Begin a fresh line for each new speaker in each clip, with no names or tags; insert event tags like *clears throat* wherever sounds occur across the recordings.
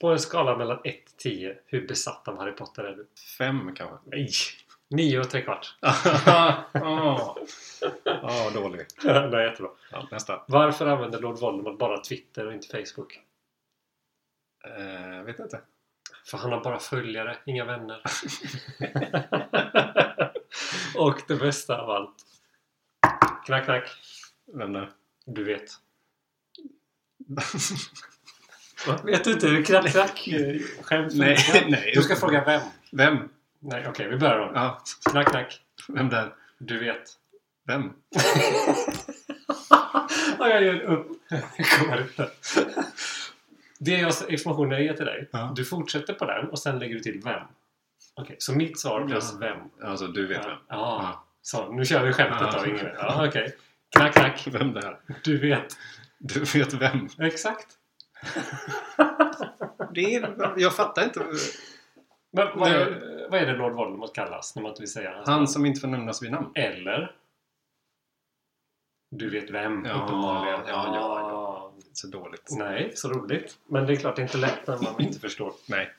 På en skala mellan 1 till 10, hur besatt av Harry Potter är du? *laughs*
Fem kanske?
Nej! 9 och trekvart.
Ja, oh, dålig.
*laughs* Nej, jättebra.
Ja, nästa.
Varför använder Lord Voldemort bara Twitter och inte Facebook?
Eh, vet inte.
För han har bara följare, inga vänner. *laughs* och det bästa av allt. Knack, knack. *laughs*
Vem det är.
Du vet. Vet du inte hur knack, knack eh, skämt
Nej,
funkar?
*laughs* nej.
Du ska fråga vem?
Vem?
Nej, okej, vi börjar om.
Ja,
Knack, knack.
vem där?
Du vet.
Vem?
Ja, jag ger upp. Det kommer inte. Det är jag- informationen jag ger till dig.
Ja.
Du fortsätter på den och sen lägger du till vem. Okej, så mitt svar plus
Ja.
vem.
Alltså, du vet
Ja.
vem.
Ja. Så, nu kör vi skämtet
Ja.
då, Ingrid. Ja, okej. Knack, knack.
Vem där?
Du vet.
Du vet vem?
Exakt.
Det är, jag fattar inte.
Men vad
Det-
är, vad är det Lord Voldemort kallas när man inte vill säga hans namn?
Han som inte får nämnas vid namn.
Eller? Du vet vem,
Ja,
uppenbarligen.
ja, ja, ja.
ja.
Så dåligt.
Nej, så roligt. Men det är klart, det är inte lätt när man inte förstår.
Nej.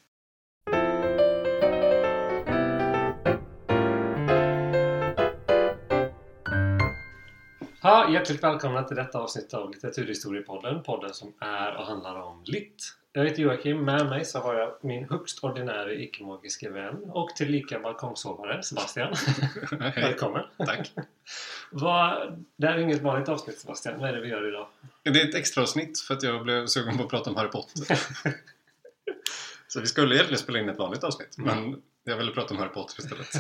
Ha, hjärtligt välkomna till detta avsnitt av Litteraturhistoriepodden. Podden som är och handlar om litt. Jag heter Joakim. Med mig så har jag min högst ordinära icke-magiske vän och tillika balkongsovare Sebastian.
*laughs* Hej,
Välkommen!
tack.
Vad, det här är inget vanligt avsnitt Sebastian. Vad är det vi gör idag?
Det är ett extraavsnitt för att jag blev sugen på att prata om
*laughs*
Harry Potter. Så vi skulle egentligen spela in ett vanligt avsnitt, men jag ville prata om Harry Potter istället.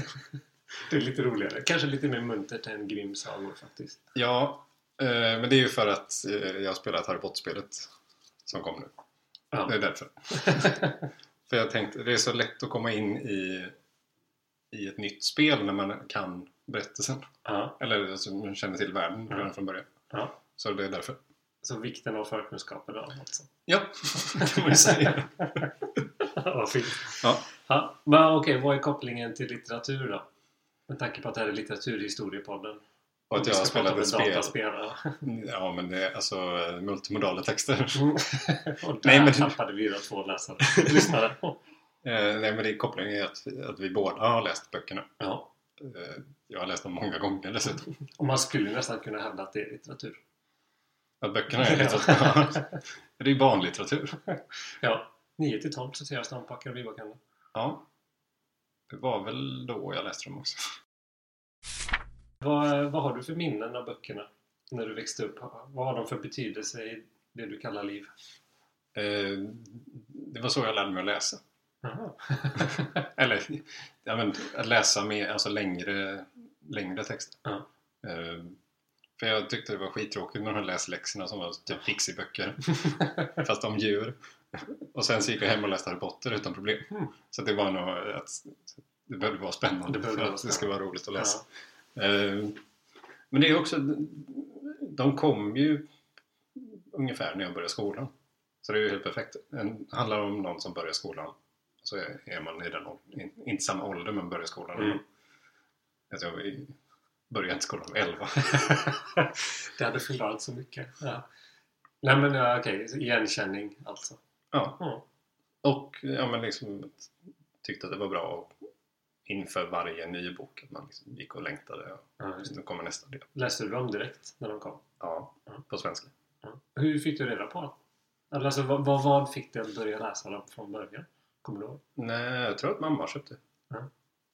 Det är lite roligare. Kanske lite mer muntert än Grimm sagor faktiskt.
Ja, eh, men det är ju för att eh, jag har spelat Harry Potter-spelet som kom nu.
Ja.
Det
*laughs*
är därför. för jag tänkte, det är så lätt att komma in i, i ett nytt spel när man kan berättelsen.
Ja.
Eller alltså, man känner till världen
Ja.
redan från början.
ja.
Så det är därför.
Så vikten av förkunskaper då alltså.
Ja, *laughs* kan man ju säga.
*laughs* Vad fint.
Ja.
Ja, men okej, vad är kopplingen till litteratur då? Med tanke på att det här är litteraturhistoriepodden.
Och att
Vi
jag har
ska prata
spelat
om
ett spel.
dataspel. ja.
Ja, men det är alltså eh, multimodala texter. *laughs*
*laughs* Och där
Mm. Nej, men-
tappade vi då två läsare.
*laughs*
Lyssnare.
Eh, Nej, men det är kopplingen är att, att vi båda har läst böckerna.
Ja.
Eh, Jag har läst dem många gånger dessutom.
Och man skulle nästan kunna hävda att det är litteratur.
Att böckerna är
Ja. *laughs*
litteratur. det är barnlitteratur.
Ja. 9 till 12 sorterar stampackar och bibakallar.
Ja. Det var väl då jag läste dem också.
Vad, vad har du för minnen av böckerna? När du växte upp? Vad har de för betydelse i det du kallar liv?
Eh, Det var så jag lärde mig att läsa. Eller, ja, men, att läsa med alltså, längre, längre texter.
Ja.
Eh, För jag tyckte det var skittråkigt med de här läsläxorna som var typ
*laughs*
fixiböcker. fast om djur. Och sen så gick jag hem och läste Harry Potter utan problem.
Mm.
Så det var nog att det behövde vara spännande
Det behövde
för
vara
att det ska vara roligt
Ja.
att läsa. Eh, Men det är också, de kom ju ungefär när jag började skolan. Så det är ju helt perfekt. Det handlar om någon som börjar skolan. Så är är man i den åldern, in- inte samma ålder men börjar skolan.
Mm.
Alltså jag var i- började inte skolan vid 11.
det hade förklarat så mycket. Ja. Nej men ja, okej, igenkänning alltså.
Ja.
Ja.
Och ja, men liksom, tyckte att det var bra att inför varje ny bok. Att man liksom gick och längtade. Och
Ja, just det.
nu kommer nästa del.
Läste du dem direkt när de kom?
Ja,
Mm.
på svenska.
Ja. Hur fick du reda på dem? Eller Alltså, vad, vad, vad fick dig att börja läsa dem från början? Kommer du ihåg?
Nej, jag tror att mamma köpte.
Mm.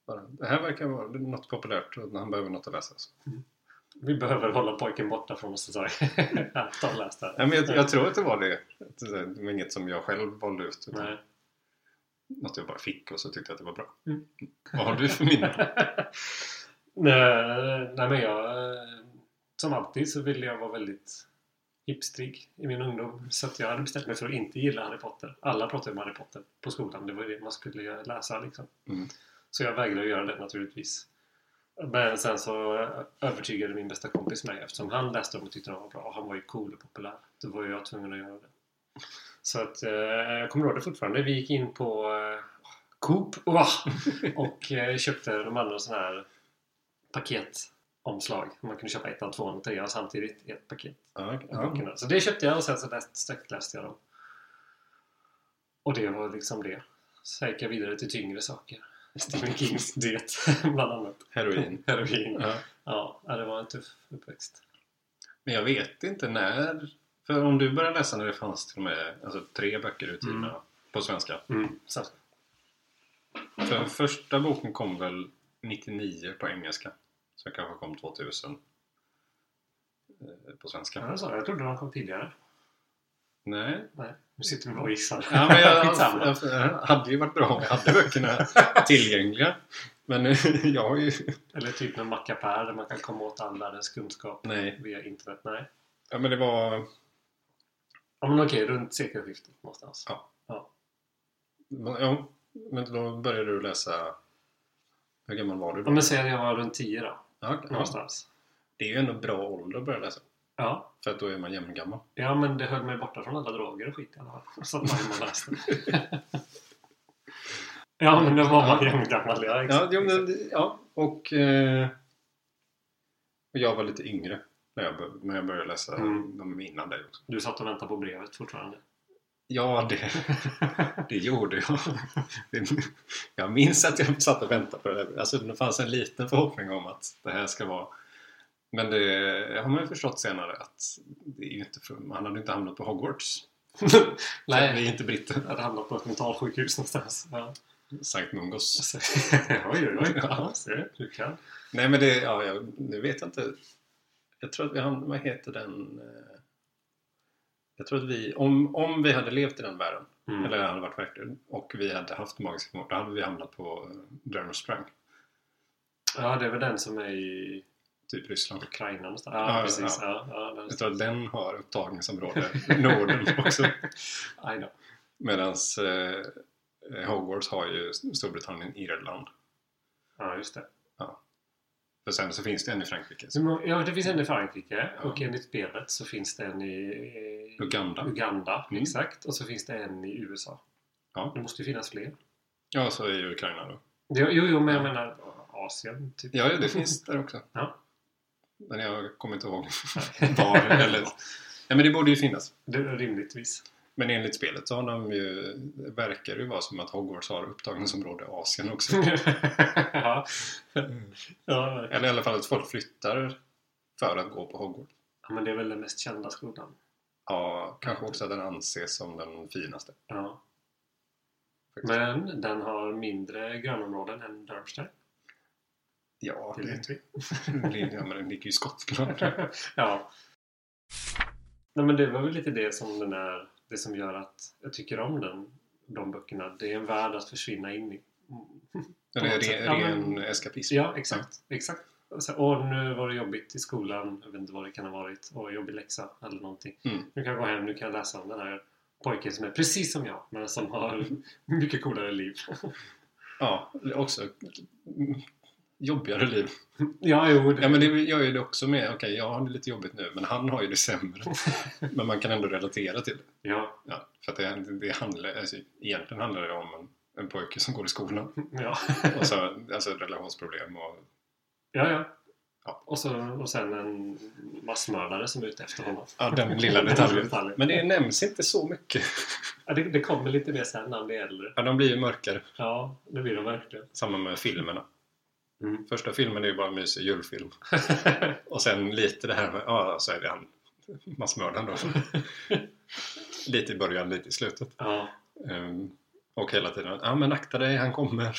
Bara, det här verkar vara något populärt och han behöver något att läsa. Så.
Vi behöver hålla pojken borta från oss ett tag. *laughs* Ja, Ta och läs det här.
Nej, men jag, jag tror att det var det. Att Det det var inget som jag själv valde ut. Utan
Nej.
Något jag bara fick och så tyckte jag att det var bra.
Mm.
Vad har du för minnen?
*laughs* Nej, nej men jag... eh, Som alltid så ville jag vara väldigt hipstrig i min ungdom. Så att jag hade bestämt mig för att inte gilla Harry Potter. Alla pratade om Harry Potter på skolan. Det var ju det man skulle göra- läsa liksom.
Mm.
Så jag vägrade göra det naturligtvis. Men sen så eh, övertygade min bästa kompis mig eftersom han läste dem och tyckte de var bra. Och han var ju cool och populär. Då var ju jag tvungen att göra det. Så att eh, jag kommer ihåg det fortfarande. Vi gick in på eh, Coop ah, Åh! och eh, köpte de andra sådana här paketomslag. Man kunde köpa ettan, tvåan och trean samtidigt i ett paket.
Ja, okej.
Böckerna. Så det köpte jag och sen så läst, sträckläste jag dem. Och det var liksom det. Så gick jag vidare till tyngre saker. Stephen
*laughs*
Kings diet bland annat.
Heroin.
Heroin.
Ja.
Ja, ja, det var en tuff uppväxt.
Men jag vet inte när. För om du började läsa när det fanns till och med alltså, tre böcker utgivna
Mm.
på svenska.
Så,
För första boken kom väl 99 på engelska. Så kanske kom 2000 eh, på svenska.
ja, så, jag trodde de kom tidigare.
Nej.
Nej, nu sitter vi bara och gissar.
Ja, men jag,
Skitsamma.
jag, jag hade ju varit bra om jag hade böckerna tillgängliga. Men *laughs* eh, jag har ju...
Eller typ någon mackapär där man kan komma åt all världens kunskap
Nej.
via internet. Nej.
Ja, men det var...
Ja, men okej, runt sekelskiftet någonstans.
Ja.
Ja.
Ja, men då började du läsa... Hur gammal var du
Ja,
då?
men säg att jag var runt 10 då.
Ja, okej. ja.
Någonstans.
Det är ju ändå bra ålder att börja läsa.
Ja.
För att då är man jämngammal.
ja, men det höll mig borta från alla droger och skit i alla fall. Så att man man läste.
*laughs*
ja, men då var man jämngammal. Ja,
Ja,
exakt.
jo, men, ja och... Eh, och jag var lite yngre när jag, bör- när jag började läsa
Mm.
dem innan dig också.
Du satt och väntade på brevet
*laughs*
fortfarande.
Ja, det, *laughs* det gjorde jag. *laughs* Det- Jag minns att jag satt och väntade på det. där. Alltså, det fanns en liten förhoppning om att det här ska vara... Men det har man ju förstått senare att det är ju inte för, man hade ju inte hamnat på Hogwarts.
Nej.
Vi är inte britter.
Jag hade hamnat på ett mentalsjukhus någonstans. Ja.
*laughs* Sankt Mungos. *laughs*
oj, oj, oj.
Ja.
Ja, ser du. Du kan.
Nej men det, ja, jag, nu vet jag inte. Jag tror att vi, hamn- vad heter den? eh, Jag tror att vi, om, om vi hade levt i den världen,
Mm.
eller hade varit verkligen, och vi hade haft magiska förmågor, då hade vi hamnat på eh, Drömmen sprang.
Ja, det är väl den som är i
Typ Ryssland.
Ukraina någonstans.
Ja,
Ja,
ja,
precis. Ja, ja, den-
Jag tror att den har upptagningsområde, Norden också.
Aj då.
Medan eh, Hogwarts har ju Storbritannien, Irland.
Ja, just det.
För sen så finns det en i Frankrike.
Så må- Ja, det finns en i Frankrike
Ja.
och enligt spelet så finns det en i eh,
Uganda.
Uganda,
Mm.
exakt. Och så finns det en i USA.
Ja.
Det måste ju finnas fler.
Ja, så är ju Ukraina då.
Det, jo, jo, men jag menar Asien, typ.
Ja,
*laughs*
det finns där också.
Ja.
Men jag kommer inte ihåg var eller... Nej, men det borde ju finnas.
Det,
*laughs*
rimligtvis.
Men enligt spelet så har de ju, det verkar det ju vara som att Hogwarts har upptagningsområde i Asien också.
ja. ja,
Eller i alla fall att folk flyttar för att gå på Hogwarts.
men det är väl den mest kända skolan.
Ja, kanske också att den anses som den finaste.
Ja.
faktiskt.
Men den har mindre grönområden än Durmster.
Ja,
Det vet
*laughs*
vi.
det- ja, men den ligger ju i Skottland.
*laughs* ja. Nej, men det var väl lite det som den är, det som gör att jag tycker om den, de böckerna. Det är en värld att försvinna in i.
Den är re,
Ja, men-
ren eskapism.
Ja, exakt. exakt. Och så, åh, nu var det jobbigt i skolan. Jag vet inte vad det kan ha varit. Åh, jobbig läxa eller någonting.
Mm.
Nu kan jag gå hem, nu kan jag läsa om den här pojken som är precis som jag, men som har *laughs* mycket coolare liv.
Ja, också mm, jobbigare liv.
ja, jo. Det,
Ja, men det gör ju det också med, okej, jag har det lite jobbigt nu, men han har ju det sämre.
*laughs*
men man kan ändå relatera till det.
ja,
Ja, för att det, det handlar, alltså, egentligen handlar det om en, en pojke som går i skolan.
ja.
Och så, alltså relationsproblem och...
Ja, ja.
Ja.
Och, så, och sen en massmördare som är ute efter honom.
Ja,
*laughs*
den lilla
Den
detaljen.
detaljen.
Men det nämns inte så mycket.
Ja, det, det kommer lite mer sen när han blir äldre.
Ja, de blir ju mörkare.
Ja, det blir de verkligen.
Samma med filmerna.
Mm.
Första filmen är ju bara en mysig julfilm. *laughs* Och sen lite det här med, ja, så är det han massmördaren *laughs* då. lite i början, lite i slutet.
Ja,
Ehm, och hela tiden, ja men akta dig, han kommer.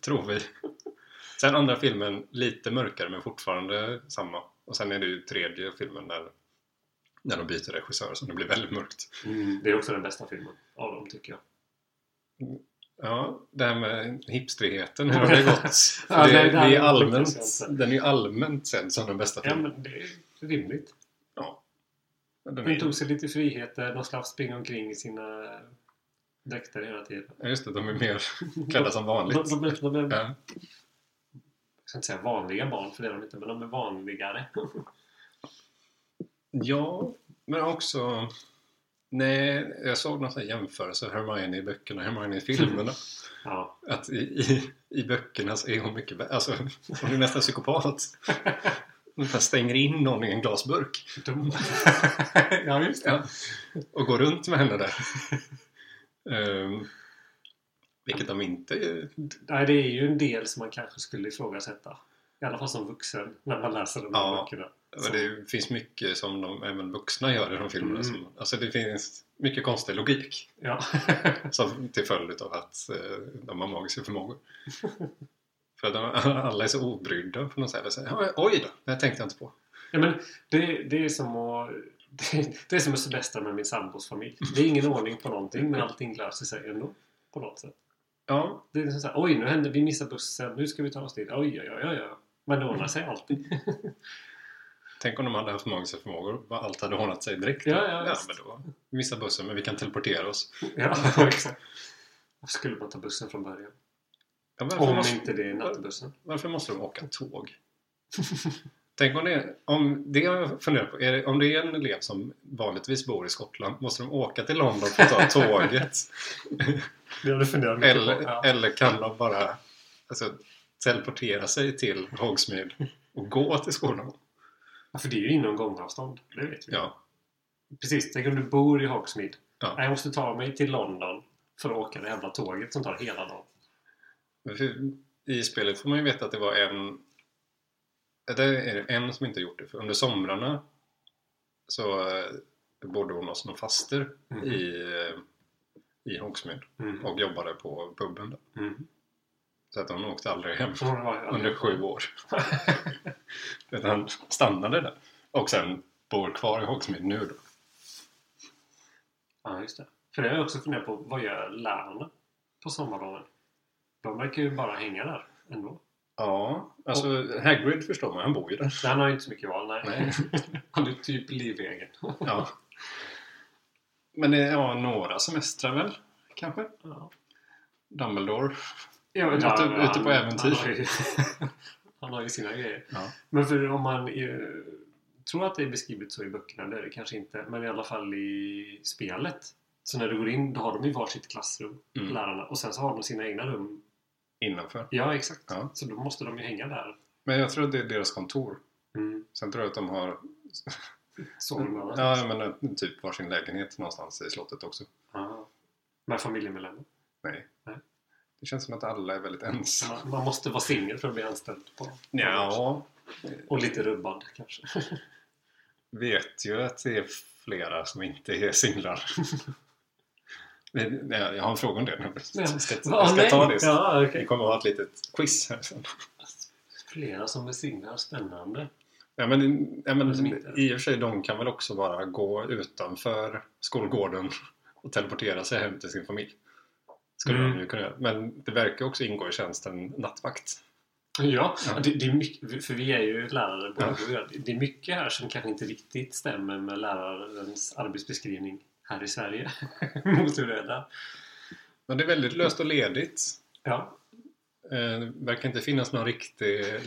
*laughs* Tror vi. Sen andra filmen, lite mörkare men fortfarande samma. Och sen är det ju tredje filmen där, när de byter regissör så det blir väldigt mörkt.
det är också den bästa filmen av dem tycker jag.
Ja, det här med hipstrigheten, hur har det *laughs* gått?
Ja,
det,
nej,
det,
det hade
är
jag
allmänt,
lyckats inte.
den är ju allmänt sedd som den bästa
Ja,
filmen.
men det är rimligt.
Ja, den
De
är,
tog sig lite friheter. De slapp springa omkring i sina eh, dräkter hela tiden.
ja, just det, de är mer *laughs* klädda som vanligt.
De, de, de, de är,
Ja.
jag ska inte säga vanliga barn, för det är de inte, men de är vanligare.
Ja, men också... Nej, jag såg någon sån här jämförelse, Hermione i böckerna, Hermione i *laughs* filmerna.
Ja,
Att i, i, i böckerna så är hon mycket vä- Alltså, hon är nästan psykopat. *laughs* Hon bara stänger in någon i en glasburk
de, *laughs* ja just det.
*laughs* och går runt med henne där. Ehm, vilket de inte...
Nej, det är ju en del som man kanske skulle ifrågasätta. I alla fall som vuxen, när man läser de här
Ja.
böckerna.
Men Alltså, det finns mycket som de, även vuxna gör i de filmerna.
Mm.
Som, alltså det finns mycket konstig logik
Ja.
som, till följd av att eh, de har magiska
*laughs*
förmågor. För att de, alla är så obrydda på något sätt. Och säger, "Ja, Oj då, det här tänkte jag inte på.
Ja, men det, det är som att... *laughs* Det, det är som att semestra med min sambos familj. Det är ingen ordning på någonting, men allting löser sig ändå. På något sätt.
Ja,
Det är liksom så här, oj, nu hände vi missar bussen, nu ska vi ta oss dit. Oj, oj, oj, oj. Men det ordnar sig alltid.
Tänk om de hade haft magiska förmågor. Vad Allt hade ordnat sig direkt.
Ja, ja, visst.
men då. Missa bussen, men vi kan teleportera oss.
Ja, *laughs* exakt. Varför skulle man ta bussen från början?
Ja, varför,
Om
måste,
inte det är nattbussen.
varför måste de åka
*laughs*
tåg? Tänk om det, om det har jag funderat på. Är det, om det är en elev som vanligtvis bor i Skottland, måste de åka till London för att ta
*laughs*
tåget?
Det hade funderat mycket
eller,
på. Ja.
eller kan de bara alltså, teleportera sig till Hogsmeade och gå till skolan?
Ja, För det är ju inom gångavstånd. Det vet vi.
Ja,
Precis, tänk om du bor i Hogsmeade.
Ja.
Nej, Jag måste ta mig till London för att åka det jävla tåget som tar hela dagen.
För I spelet får man ju veta att det var en... Det är en som inte gjort det. För under somrarna så eh, bodde hon hos någon faster
Mhm.
i, eh, i Hogsmeade
Mm.
och jobbade på puben. Där.
Mm.
Så att hon åkte aldrig hem
Så det var- ja,
under sju år. Utan han stannade där. Och sen bor kvar i Hogsmeade nu då.
Ja, just det. För det har jag också funderat på. Vad gör lärarna på sommarloven? De verkar ju bara hänga där ändå.
Ja, alltså Hagrid förstår man, han bor ju där.
Så han har ju inte så mycket val. *laughs* Nej.
Nej.
Han är typ livegen.
Ja. Men det är ja, några semestrar väl, kanske?
Ja.
Dumbledore.
Ja, men
Ute-
han- typ
ute på
han-
äventyr.
Han har, ju, *laughs* han har ju sina grejer.
Ja.
Men för om man eh, tror att det är beskrivet så i böckerna, det är det kanske inte, men i alla fall i spelet. Så när du går in, då har de ju varsitt klassrum,
Mm.
lärarna. Och sen så har de sina egna rum.
Innanför.
Ja, exakt.
Ja.
Så då måste de ju hänga där.
Men jag tror att det är deras kontor.
Mm.
Sen tror jag att de har
Sovrummen.
Mm. ja, jag menar, typ varsin lägenhet någonstans i slottet också.
Ja. Med familjemedlemmar.
Nej.
Nej.
Det känns som att alla är väldigt
Så
ensamma.
Man, man måste vara singel för att bli anställd. På.
Ja,
Och lite rubbad kanske.
vet ju att det är flera som inte är singlar. *laughs* Men, nej, Jag har en fråga om det nu. Jag ska, jag ska ta det. sen.
Ja,
Vi
okej.
kommer att ha ett litet quiz här sen.
Flera som är singlar, spännande.
Ja, men, ja, men,
Som inte-
I och för sig, de kan väl också bara gå utanför skolgården och teleportera sig hem till sin familj. Skulle
Mm.
de ju kunna göra. Men det verkar också ingå i tjänsten nattvakt.
Ja,
Ja.
Det, det är mycket, för vi är ju lärare båda
Ja.
två. Det är mycket här som kanske inte riktigt stämmer med lärarens arbetsbeskrivning här i Sverige. *laughs* Mot hur det är där.
Men det är väldigt löst och ledigt. *laughs*
Ja.
Eh, det verkar inte finnas någon riktig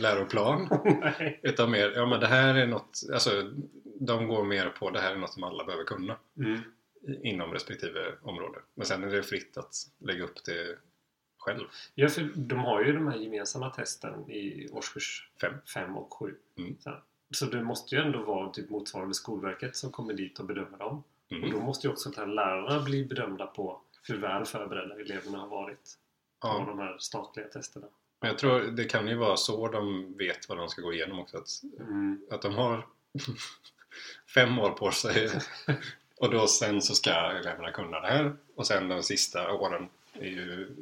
*laughs*
läroplan.
Nej.
Utan mer, ja men det här är något, alltså de går mer på det här är något som alla behöver kunna
Mm.
i- inom respektive område. Men sen är det fritt att lägga upp det själv.
Ja, för de har ju de här gemensamma testen i årskurs
Fem.
5 och 7.
Mm.
Så, här. så det måste ju ändå vara typ motsvarande Skolverket som kommer dit och bedömer dem. Och
Mm.
då måste ju också de här lärarna bli bedömda på hur väl förberedda eleverna har varit på
Ja.
de här statliga testerna.
Men jag tror det kan ju vara så de vet vad de ska gå igenom också. Att,
Mm.
att de har *laughs* fem år på sig och då sen så ska eleverna kunna det här. Och sen de sista åren är ju...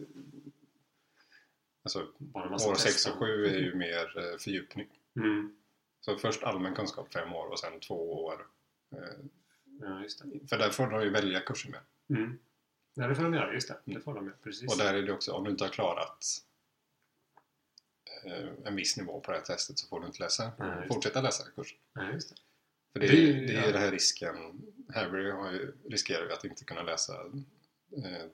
Alltså
Bara en massa
år
tester.
6 och 7 är ju mer eh, fördjupning.
Mm.
Så först allmän kunskap fem år och sen två år. eh,
Ja, just det.
För där får de ju välja kurser med.
Mm. Ja, det får de göra. Just det. Det får de göra. Precis.
Och där är det också, om du inte har klarat eh, en viss nivå på det här testet så får du inte läsa.
Nej, just det.
Fortsätta läsa kursen.
Ja, just det.
För det, är-
Det är-
det är
ja.
ju den här risken. Harry har ju, riskerar ju att inte kunna läsa eh,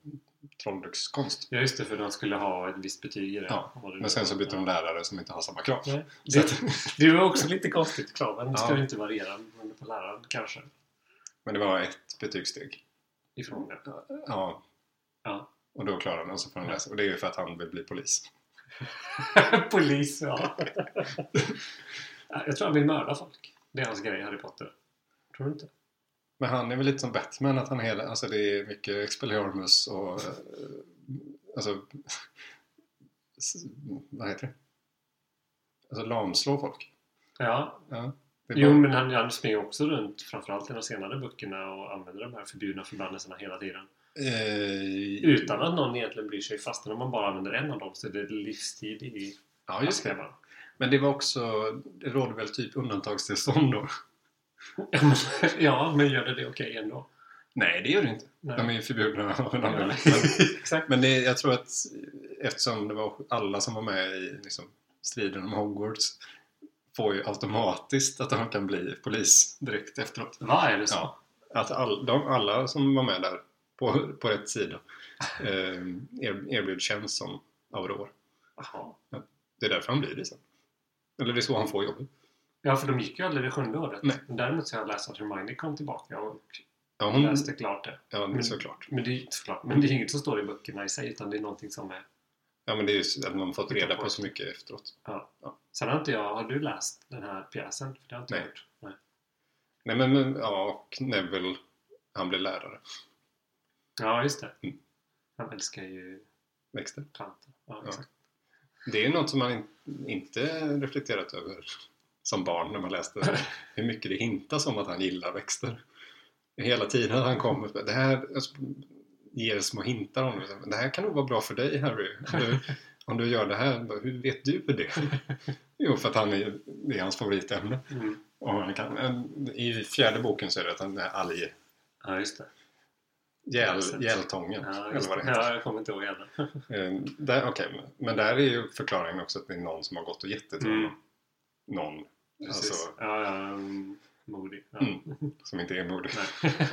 trolldryckskonst.
Ja, just det. För de skulle ha ett visst betyg i det.
Ja,
Vad det nu
Men sen så
var.
byter de lärare som inte har samma krav.
Nej.
Så
Det,
att, *laughs*
det var också lite konstigt kraven. Det ska
Ja.
ju inte variera beroende på läraren kanske.
men det var ett betygssteg.
Ifrån det.
Ja.
Ja.
Och då klarar han och så får han läsa. Och det är ju för att han vill bli polis.
*laughs* Polis, ja. Ja, Jag tror han vill mörda folk. Det är hans grej i Harry Potter. Tror du inte?
Men han är väl lite som Batman att han hela, alltså det är mycket Expelliarmus och eh, alltså *laughs* s- vad heter det? Alltså lamslå folk.
Ja.
Ja, det är
Jo,
bara-
men han, han springer också runt, framförallt i de senare böckerna, och använder de här förbjudna förbannelserna hela tiden.
eh,
Utan att någon egentligen bryr sig, fastän om man bara använder en av dem så är det livstid i
Ja, just det.
asknävarna.
Men det var också, det råder väl typ undantagstillstånd då?
Ja, men- *laughs* ja, men gör det det okej ändå?
Nej, det gör det inte.
Nej.
De är ju förbjudna av en
Ja.
anledning.
*laughs* Exakt.
Men det, jag tror att eftersom det var alla som var med i liksom, striden om Hogwarts får ju automatiskt att de kan bli polis direkt efteråt.
Vad är det så?
Ja, att all, de, alla som var med där på, på rätt sida eh, er- erbjöd tjänst som Auror.
Jaha.
Det är därför han blir det sen. Eller det är så han får jobbet.
Ja, för de gick ju aldrig det sjunde året.
Nej.
Men däremot så har jag läst att Hermione kom tillbaka och
Ja, hon,
läste klart det.
ja det är
Mm.
såklart.
Men det, är ju inte såklart, men det är inget som står i böckerna i sig, utan det är någonting som är...
Ja, men det är ju så att man fått reda på så mycket efteråt.
Sen har inte jag... Har du läst den här pjäsen? För det har inte jag
Nej.
gjort. Nej.
Nej, men, men ja, och Neville, han blir lärare.
Ja, just det.
Mm.
Han älskar ju
Växter.
plantor. Ja,
Ja.
exakt.
Det är något som man in- inte reflekterat över som barn när man
*laughs*
läste det. hur mycket det hintas om att han gillar växter. Hela tiden han kommer det här alltså, ger små hintar om det. Det här kan nog vara bra för dig Harry. Om du, om du gör det här, bara, hur vet du det?
*laughs*
Jo, för att han är, det är hans favoritämne.
Mm.
Och han kan, en- I fjärde boken så är det att han är alg,
Ja, just det.
gäl,
Exakt.
gältången.
Ja,
eller
just
vad
det.
det heter.
Ja, jag kommer inte ihåg heller.
Eh, Där, okej, men- Men där är ju förklaringen också att det är någon som har gått och gett det till
Mm.
honom. Någon
Precis.
Alltså-
Ja, ja, mm, modig. Ja.
Mm. som inte är modig.
Nej. *laughs*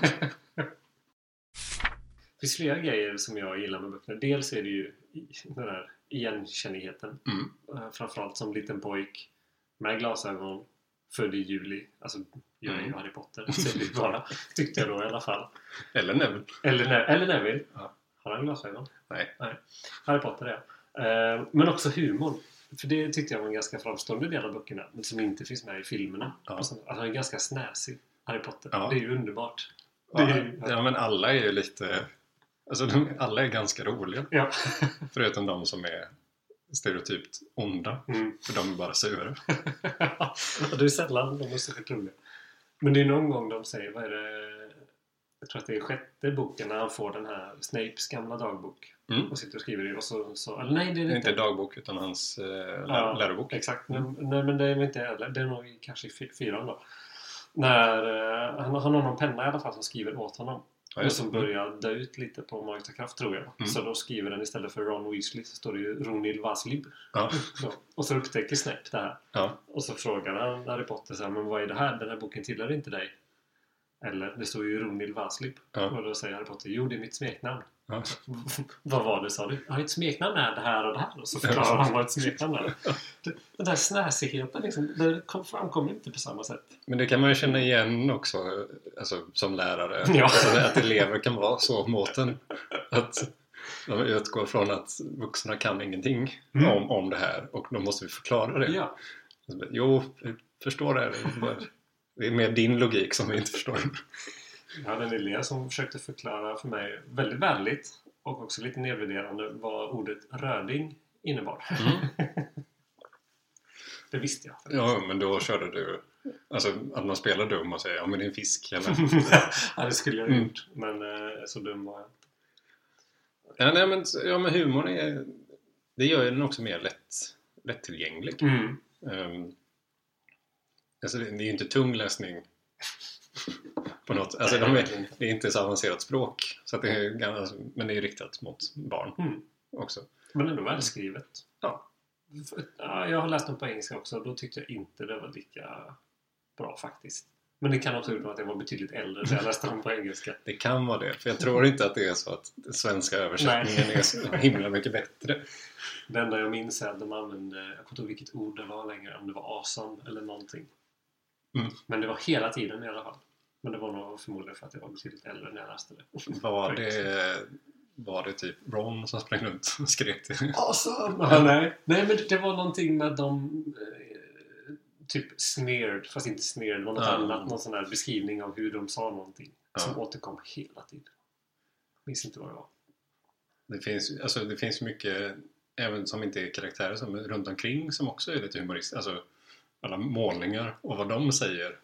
det finns flera grejer som jag gillar med böckerna. Dels är det ju i- den här igenkännigheten.
Mm.
Eh, Framförallt som liten pojk med glasögon, född i juli. Alltså, jag är ju
Mm.
Harry Potter, så det är bara, tyckte jag då i alla fall.
*laughs* Eller Neville.
Eller, Ne- eller Neville.
Ja.
Har han glasögon?
Nej.
Harry Potter, ja. Eh, Men också humorn. För det tyckte jag var en ganska framstående del av böckerna, men som inte finns med i filmerna.
Ja.
Och sen- Att han är ganska snäsig, Harry Potter.
Ja.
Det är ju underbart. Det
Ja,
är-
ja, men alla är ju lite... Alltså de, alla är ganska roliga.
Ja.
*laughs* Förutom de som är stereotypt onda.
Mm.
För de är bara sura.
*laughs* och det är sällan de är särskilt roliga. Men det är någon gång de säger, vad är det? Jag tror att det är sjätte boken när han får den här Snapes gamla dagbok.
Mm.
Och sitter och skriver i och så, så eller nej det är
Det
det
är inte
inte.
dagbok utan hans eh, lär,
Ja,
lärobok.
Exakt, men, nej men det är väl inte heller. Det är nog i- kanske i fy- fyran då. När eh, han, han har någon penna i alla fall som skriver åt honom.
Ja,
och
just det.
som börjar dö ut lite på Magiska Kraft tror jag.
Mm.
Så då skriver den istället för Ron Weasley så står det ju Ronil Vaslib.
Ja,
Då. Och så upptäcker Snape det här.
ja.
Och så frågar han Harry Potter så här, men vad är det här? Den här boken tillhör inte dig. Eller, det står ju Ronil Vaslip.
Ja.
Och då säger Harry Potter, jo det är mitt smeknamn.
ja.
*laughs* vad var det sa du? Ja, ett smeknamn är det här och det här. Och så förklarar han vad ett smeknamn är. Det- Den där snäsigheten liksom, det kom- framkommer inte på samma sätt.
Men det kan man ju känna igen också alltså, som lärare.
*laughs* Ja.
Alltså, att elever kan vara så måten. Att de utgår från att vuxna kan ingenting
Mm.
om, om det här och då måste vi förklara det.
Ja,
Så bara, Jo, jag förstår det. Det är mer din logik som vi inte förstår.
jag hade en elev som försökte förklara för mig väldigt vänligt och också lite nedvärderande vad ordet röding innebar.
Mm.
Det visste
*laughs*
jag.
Ja, men då körde du... Alltså att man spelar dum och säger ja men det är en fisk. Eller,
ja, det skulle jag
Mm.
ha gjort. Men eh, så dum var jag inte.
ja, nej, men, ja, men humorn är... Det gör ju den också mer lätt, lättillgänglig. Ehm, alltså det, det är ju inte tung läsning på något. Alltså de är, det är inte så avancerat språk. Så att det är, gan- alltså, men det är ju riktat mot barn
Mm.
också.
Men ändå välskrivet.
Ja.
För- ja. Jag har läst dem på engelska också och då tyckte jag inte det var lika bra faktiskt. Men det kan också bero på att jag var betydligt äldre när jag läste dem på engelska.
Det kan vara det. För jag tror inte att det är så att den svenska översättningen är så himla mycket bättre.
Det enda jag minns är att de använde, jag kommer inte ihåg vilket ord det var längre, om det var asan eller någonting.
Mm.
Men det var hela tiden i alla fall. Men det var nog förmodligen för att jag var betydligt äldre när jag läste det.
Var det, var det typ Ron som sprang runt och skrek till
Alltså,
*laughs*
Awesome! Ja, nej. nej, men det var någonting med att de eh, typ sneered, fast inte sneered, men något
Ja.
annat. Någon sån här beskrivning av hur de sa någonting.
Ja.
Som återkom hela tiden. Jag minns inte vad det var. *laughs*
Det finns, alltså, det finns mycket, även som inte är karaktärer, som är runt omkring som också är lite humoristiskt. Alltså alla målningar och vad de säger.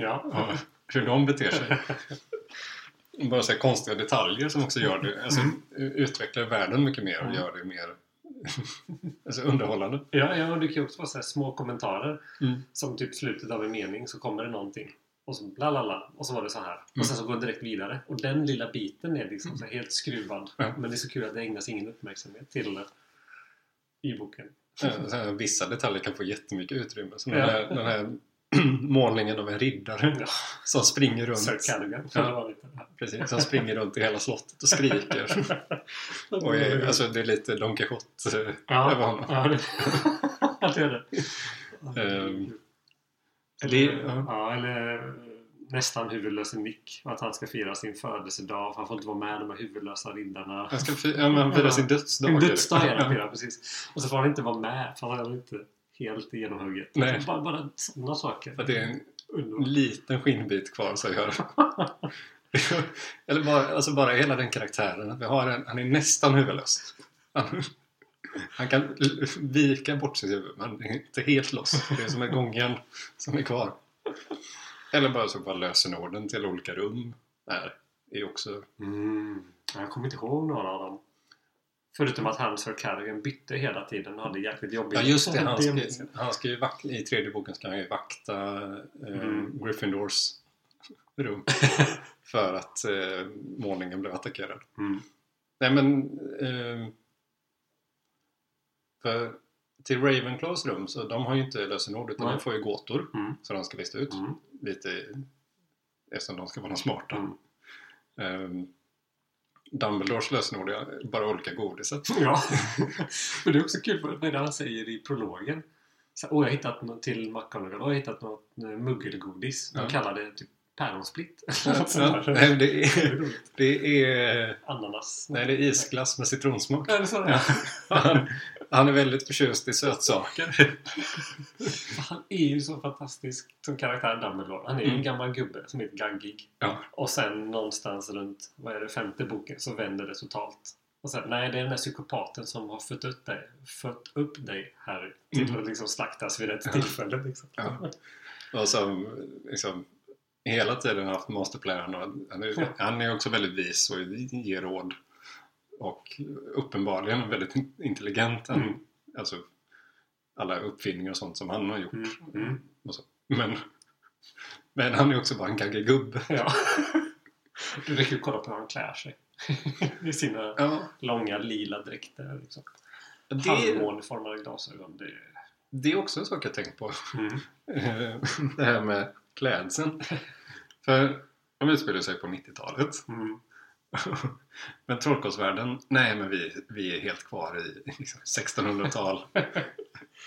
ja.
Ja, hur de beter sig. Bara så här konstiga detaljer som också gör det, alltså, utvecklar världen mycket mer och
Mm.
gör det mer alltså, underhållande.
Ja, ja, och det kan ju också vara så här små kommentarer.
Mm.
Som typ slutet av en mening så kommer det någonting. Och så la la la. Och så var det så här.
Mm.
Och sen så går det direkt vidare. Och den lilla biten är liksom så här helt skruvad.
Ja.
Men det är så kul att det ägnas ingen uppmärksamhet till det i boken.
Eh, Så här, vissa detaljer kan få jättemycket utrymme. Som
Ja.
den här, den här *clears throat* målningen av en riddare
Ja.
som springer
*laughs*
runt.
Sir Cadogan.
Ja.
*laughs* Det var lite-
Precis, som springer runt i hela slottet
*laughs*
och skriker. Och är, alltså, det är lite Don Quijote eh,
Ja,
över honom.
ja, det, ja, det är det.
Ehm,
eller,
det- ja.
ja. eller nästan huvudlöse Nick. Att han ska fira sin födelsedag. För han får inte vara med de här huvudlösa riddarna.
Han ska fi- ja, men han firar sin dödsdag.
Sin dödsdag är det
Ja. *laughs*
Pira, precis. Och så får han inte vara med för han är inte helt genomhugget.
Nej.
Bara, bara sådana saker.
För att det är en
Underbart.
liten skinnbit kvar så gör Eller bara, alltså bara hela den karaktären. Att vi har en, han är nästan huvudlös. Han, han kan l- vika bort sitt huvud men det är inte helt loss. Det är som en gången som är kvar. Eller bara så vad lösenorden till olika rum är. är också,
Mm. Jag kommer inte ihåg några av dem. Förutom att han Sir Carrigan bytte hela tiden och hade jäkligt jobbigt.
ja just det, han ska,
minns jag.
han ska ju vak- i tredje boken ska han ju vakta eh,
Mm.
Gryffindors rum. För att eh, målningen blev attackerad.
Mm.
Nej men... Eh, för till Ravenclaws rum så de har ju inte lösenord utan
Nej.
de får ju gåtor
Mm.
som de ska lista ut.
Mm.
Lite eftersom de ska vara de smarta.
Mm.
Eh, Dumbledores lösenord är bara
*laughs*
olika godiset.
Ja. Men det är också kul för när han säger i prologen. Så, här, Åh, jag har hittat något till McGonagall. Åh, jag har hittat något eh, muggelgodis. De
Ja.
kallar det typ päronsplitt. *laughs*
Ja,
Sådär.
nej, det,
Det
är,
är roligt.
det är...
Ananas.
Nej, det är isglass
*laughs*
med citronsmak.
Är det så?
Ja.
*laughs*
Han, han är väldigt förtjust i sötsaker.
Han är ju så fantastisk som karaktär Dumbledore. Han är ju
Mm.
en gammal gubbe som är ett gaggig.
Ja.
Och sen någonstans runt, vad är det, femte boken så vänder det totalt. Och sen, nej det är den där psykopaten som har fött upp dig, fött upp dig Harry. Till
Mm.
att liksom slaktas vid rätt
Ja.
tillfälle liksom.
Ja. Och som liksom hela tiden haft masterplan och han är, han är också väldigt vis och ger råd. Och uppenbarligen väldigt intelligent. Han,
Mm.
Alltså alla uppfinningar och sånt som han har gjort.
Mm. Mm.
Men, men han är också bara en gaggig gubbe.
*laughs* Ja. Det räcker ju att kolla på hur han klär sig. *laughs* I sina
Ja,
långa lila dräkter liksom.
det,
Halvmåneformade glasögon. Det är...
det är också en sak jag tänkt på. *laughs*
Mm.
Eh, Det här med klädseln. För de utspelar sig på 90-talet.
Mm.
*laughs* Men trollkarlsvärlden, nej men vi, vi är helt kvar i liksom, *laughs* 1600-tal.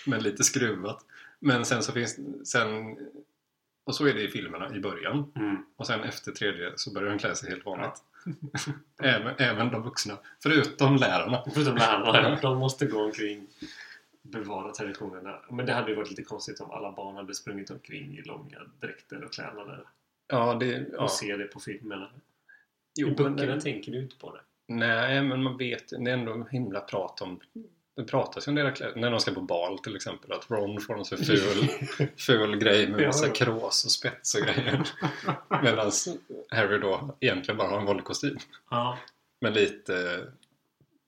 men lite skruvat. Men sen så finns, sen, och så är det i filmerna i början.
Mm.
Och sen efter tredje så börjar de klä sig helt vanligt. *laughs* även, även de vuxna. Förutom lärarna.
Förutom lärarna. De måste gå omkring bevara traditionerna. Men det hade ju varit lite konstigt om alla barn hade sprungit omkring i långa dräkter och kläder
Ja, det...
och
Ja.
se det på filmerna.
Jo,
I
men,
böckerna tänker du inte på det.
nej, men man vet Det är ändå himla prat om... Det pratas ju om deras kläder. När de ska på bal till exempel. Att Ron får någon så ful, *laughs* ful grej med
Ja,
massa
ja.
krås och spets och grejer. Medan Harry då egentligen bara har en vanlig kostym.
*laughs* ja.
Men lite eh,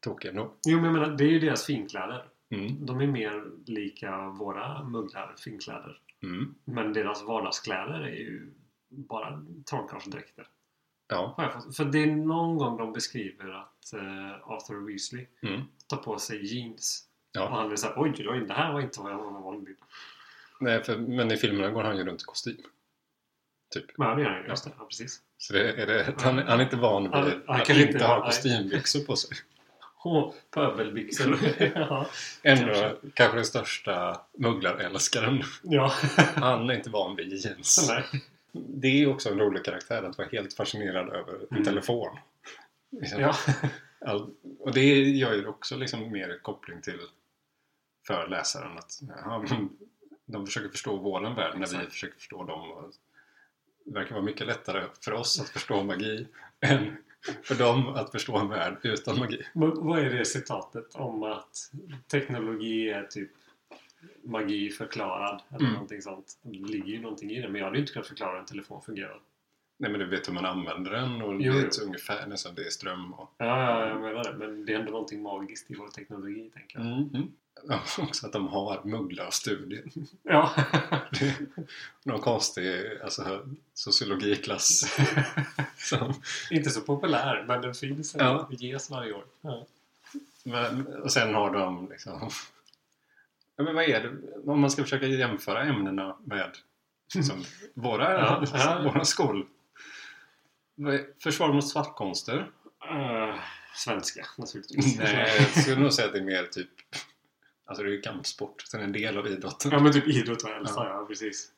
tokig ändå.
Jo, men jag menar, det är ju deras finkläder.
Mm.
De är mer lika våra mugglar, finkläder.
Mm.
Men deras vardagskläder är ju bara trollkarlsdräkter.
Ja.
Har jag fått- För det är någon gång de beskriver att eh, Arthur Weasley
Mm.
tar på sig jeans. Och
ja.
han är såhär, oj, oj, oj, det här var inte vad jag var van vid.
Nej, för, men i filmerna går han ju runt i kostym.
Ja, det gör han ju. Just det. Ja, precis.
Så det, är det, att han, han är inte van vid
Han- han
att
kan
inte
inte-
ha
nej.
kostymbyxor på sig.
Åh, pöbelbyxor. *laughs* ja.
Ändå kanske den största mugglare-älskaren.
ja.
Han är inte van vid jeans.
Nej.
Det är också en rolig karaktär att vara helt fascinerad över en
Mm.
telefon.
Ja.
All, och det gör ju också liksom mer koppling till för läsaren att ja, men de försöker förstå våran värld när vi
Exakt.
försöker förstå dem. Och det verkar vara mycket lättare för oss att förstå magi än för dem att förstå en värld utan magi.
Men Vad är det citatet om att teknologi är typ magi förklarad eller
Mm.
någonting sånt? Det ligger ju någonting i det. Men jag hade ju inte kunnat förklara hur en telefon fungerar.
Nej men du vet hur man använder den och
Jo,
vet
jo.
ungefär nästan det är ström och...
Ja, ja, jag menar det. Men det är ändå någonting magiskt i vår teknologi, tänker jag.
Mm. Ja, *laughs* också att de har mugglarstudier.
Ja. *laughs*
Det är Någon konstig alltså,
*laughs*
sociologiklass. Som,
inte så populär, men den finns. ändå.
Ja.
Det ges varje år. Ja.
men, och sen har de liksom... Ja, men vad är det? Om man ska försöka jämföra ämnena med liksom, våra,
Ja, ja.
*laughs* våra skol. Vad är- Försvar mot svartkonster?
Eh, svenska, *laughs* naturligtvis.
Nej, *laughs* jag skulle nog säga att det är mer typ... Alltså det är ju kampsport, sen en del av idrotten.
Ja, men typ idrott och hälsa, ja. precis.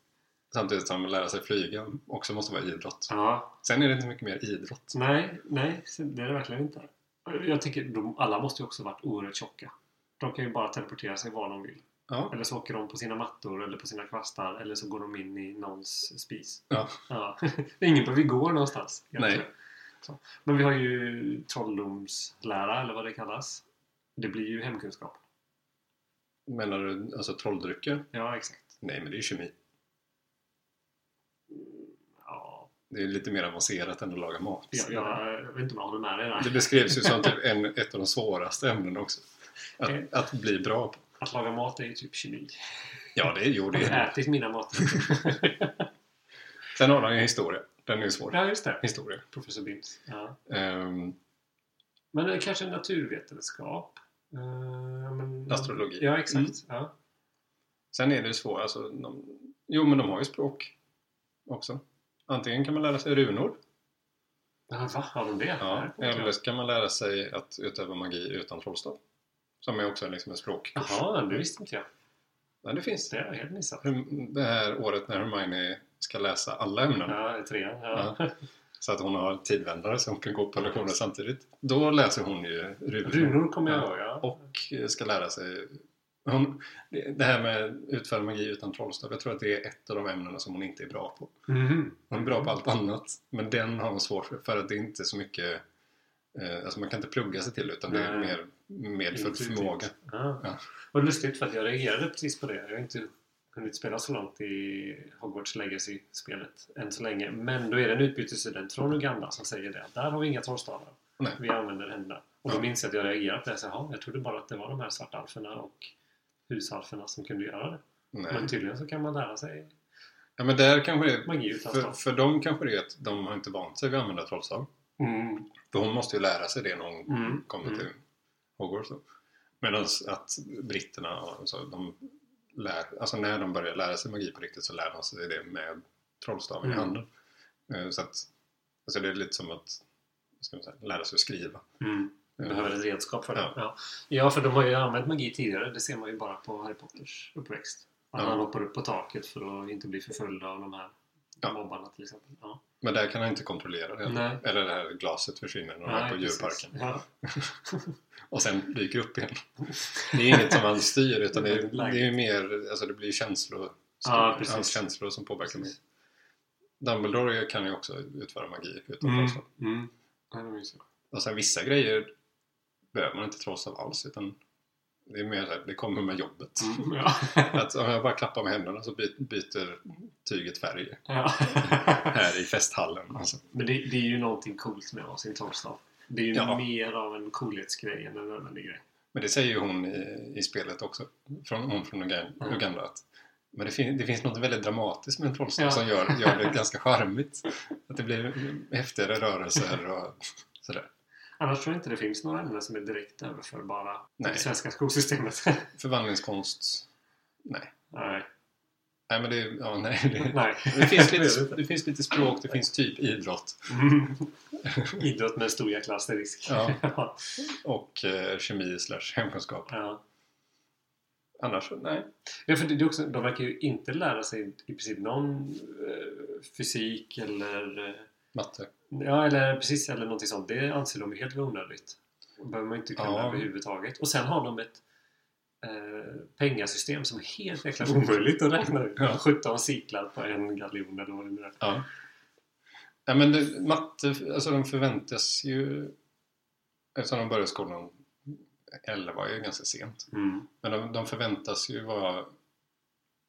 Samtidigt som att lära sig flyga också måste vara idrott.
Ja.
Sen är det inte mycket mer idrott.
Nej, nej, det är det verkligen inte. Jag tänker, de, alla måste ju också varit oerhört tjocka. De kan ju bara teleportera sig var de vill.
Ja.
Eller så åker de på sina mattor eller på sina kvastar eller så går de in i någons spis.
Ja.
Ja. *laughs* Det är ingen på vi går någonstans. egentligen.
Nej.
Så. Men vi har ju trolldomslära eller vad det kallas. Det blir ju hemkunskap.
Menar du alltså trolldrycker?
Ja, exakt.
Nej, men det är ju kemi.
Ja,
Det är lite mer avancerat än att laga mat.
jag, jag, jag vet inte om jag håller med dig där.
Det beskrevs ju som typ en, ett av de svåraste ämnena också.
Eh.
Att, att bli bra på.
Att laga mat är ju typ kemi.
Ja, det gjorde
Har du
det.
ätit mina mat?
Sen har han ju historia. Den är ju svår.
ja, just det.
Historia.
Professor Bims. Ja.
Ehm,
Men det är kanske naturvetenskap? Eh, men-
Astrologi.
Ja, exakt.
Mm.
Ja.
sen är det ju svårt. Alltså, de, jo, men de har ju språk också. Antingen kan man lära sig runor.
Ja, va? Har de det?
Ja,
Det här kommer
eller så kan man lära sig att utöva magi utan trollstav. Som är också liksom en språk.
jag. Jaha, det visste inte jag.
Ja, det finns det.
Det har jag helt missat.
Hur- Det här året när Hermione ska läsa alla ämnen.
Ja, det är trean. Ja.
Så att hon har tidvändare som kan gå på lektioner samtidigt. Då läser hon ju runor.
Runor kommer jag ihåg, ja.
Och eh, ska lära sig... Hon, det det här med utföra magi utan trollstav, jag tror att det är ett av de ämnena som hon inte är bra på.
Mhm.
Hon är bra på allt annat, men den har hon svårt för, för att det är inte så mycket... Eh, alltså man kan inte plugga sig till utan det är
Nej.
mer medfödd
Intuitivt.
Liksom förmåga.
Ja.
Ja.
Vad lustigt för att jag reagerade precis på det. Jag har inte hunnit spela så långt i Hogwarts Legacy-spelet än så länge. Men då är det en utbytesstudent från Uganda som säger det. Där har vi inga trollstavar.
Nej.
Vi använder händerna. Och då
Ja.
minns jag att jag reagerade på det. Så, "Jaha, jag trodde bara att det var de här svartalferna och husalferna som kunde göra det.
Nej.
Men tydligen så kan man lära sig
Ja, men där kanske det är,
magi utan
för,
stav.
för dem kanske det är att de har inte vant sig vid att använda trollstav.
Mm.
För hon måste ju lära sig det när hon
Mm.
kommer
Mm.
till Hogwarts. Medan att britterna, alltså, de lär, alltså när de börjar lära sig magi på riktigt så lär de sig det med trollstaven i
Mm.
handen. Eh, Så att, alltså det är lite som att vad ska man säga, lära sig att skriva.
Mm.
Eh,
Behöver ett redskap för det.
Ja.
Ja. Ja. för de har ju använt magi tidigare. Det ser man ju bara på Harry Potters uppväxt. Att
Ja.
han hoppar upp på taket för att inte bli förföljd av de här
Ja.
mobbarna till exempel. Ja.
Men där kan han inte kontrollera det.
Nej.
Eller det här glaset försvinner när de är på
Nej, precis.
djurparken.
Ja.
Och sen dyker upp igen. Det är inget som han styr
*laughs*
utan det är, det är ju
Läget.
mer, alltså det blir känslor.
Ja, precis.
hans känslor som påverkar mig.
Precis.
Dumbledore kan ju också utföra magi utan
Mm.
trollstav.
Mm. Ja, det minns jag.
Och sen vissa grejer behöver man inte trollstav alls utan det är mer så här, det kommer med jobbet.
Mm. Ja.
*laughs* Att om jag bara klappar med händerna så by- byter tyget färg
Ja. *laughs*
här i festhallen. Alltså.
Men det, det är ju någonting coolt med att ha sin trollstav. Det är ju
Ja.
mer av en coolhetsgrej än en nödvändig grej.
Men det säger ju hon i, i spelet också, från, hon från Ugan-
Mm.
Uganda. Att, men det, fin- det finns något väldigt dramatiskt med en trollstav
Ja.
som gör, gör *laughs* det ganska charmigt. Att det blir häftigare rörelser och sådär.
Annars tror jag inte det finns några ämnen som är direkt överförbara till
Nej.
det svenska skolsystemet. *laughs*
Förvandlingskonst? Nej.
nej.
Nej, men det, ja, nej, det,
nej.
*laughs* det, finns lite, det finns lite språk, det finns typ idrott.
Mm. *laughs* Idrott med stor jäkla asterisk.
Ja.
*laughs* ja.
och eh, kemi slash hemkunskap.
Ja.
Annars, nej.
Ja, för det det är också, de verkar ju inte lära sig i princip någon eh, fysik eller, eh,
Matte.
ja, eller, precis, eller någonting sånt. Det anser de ju helt onödigt. Det behöver man inte kunna
Ja.
överhuvudtaget. Och sen har de ett eh, pengasystem som är helt jäkla omöjligt att räkna ut.
Ja.
17 siklar på en galjon eller vad det nu är.
Ja. ja men det, matte, alltså de förväntas ju... Eftersom de började skolan 11 är ju ganska sent.
Mm.
Men de, de förväntas ju vara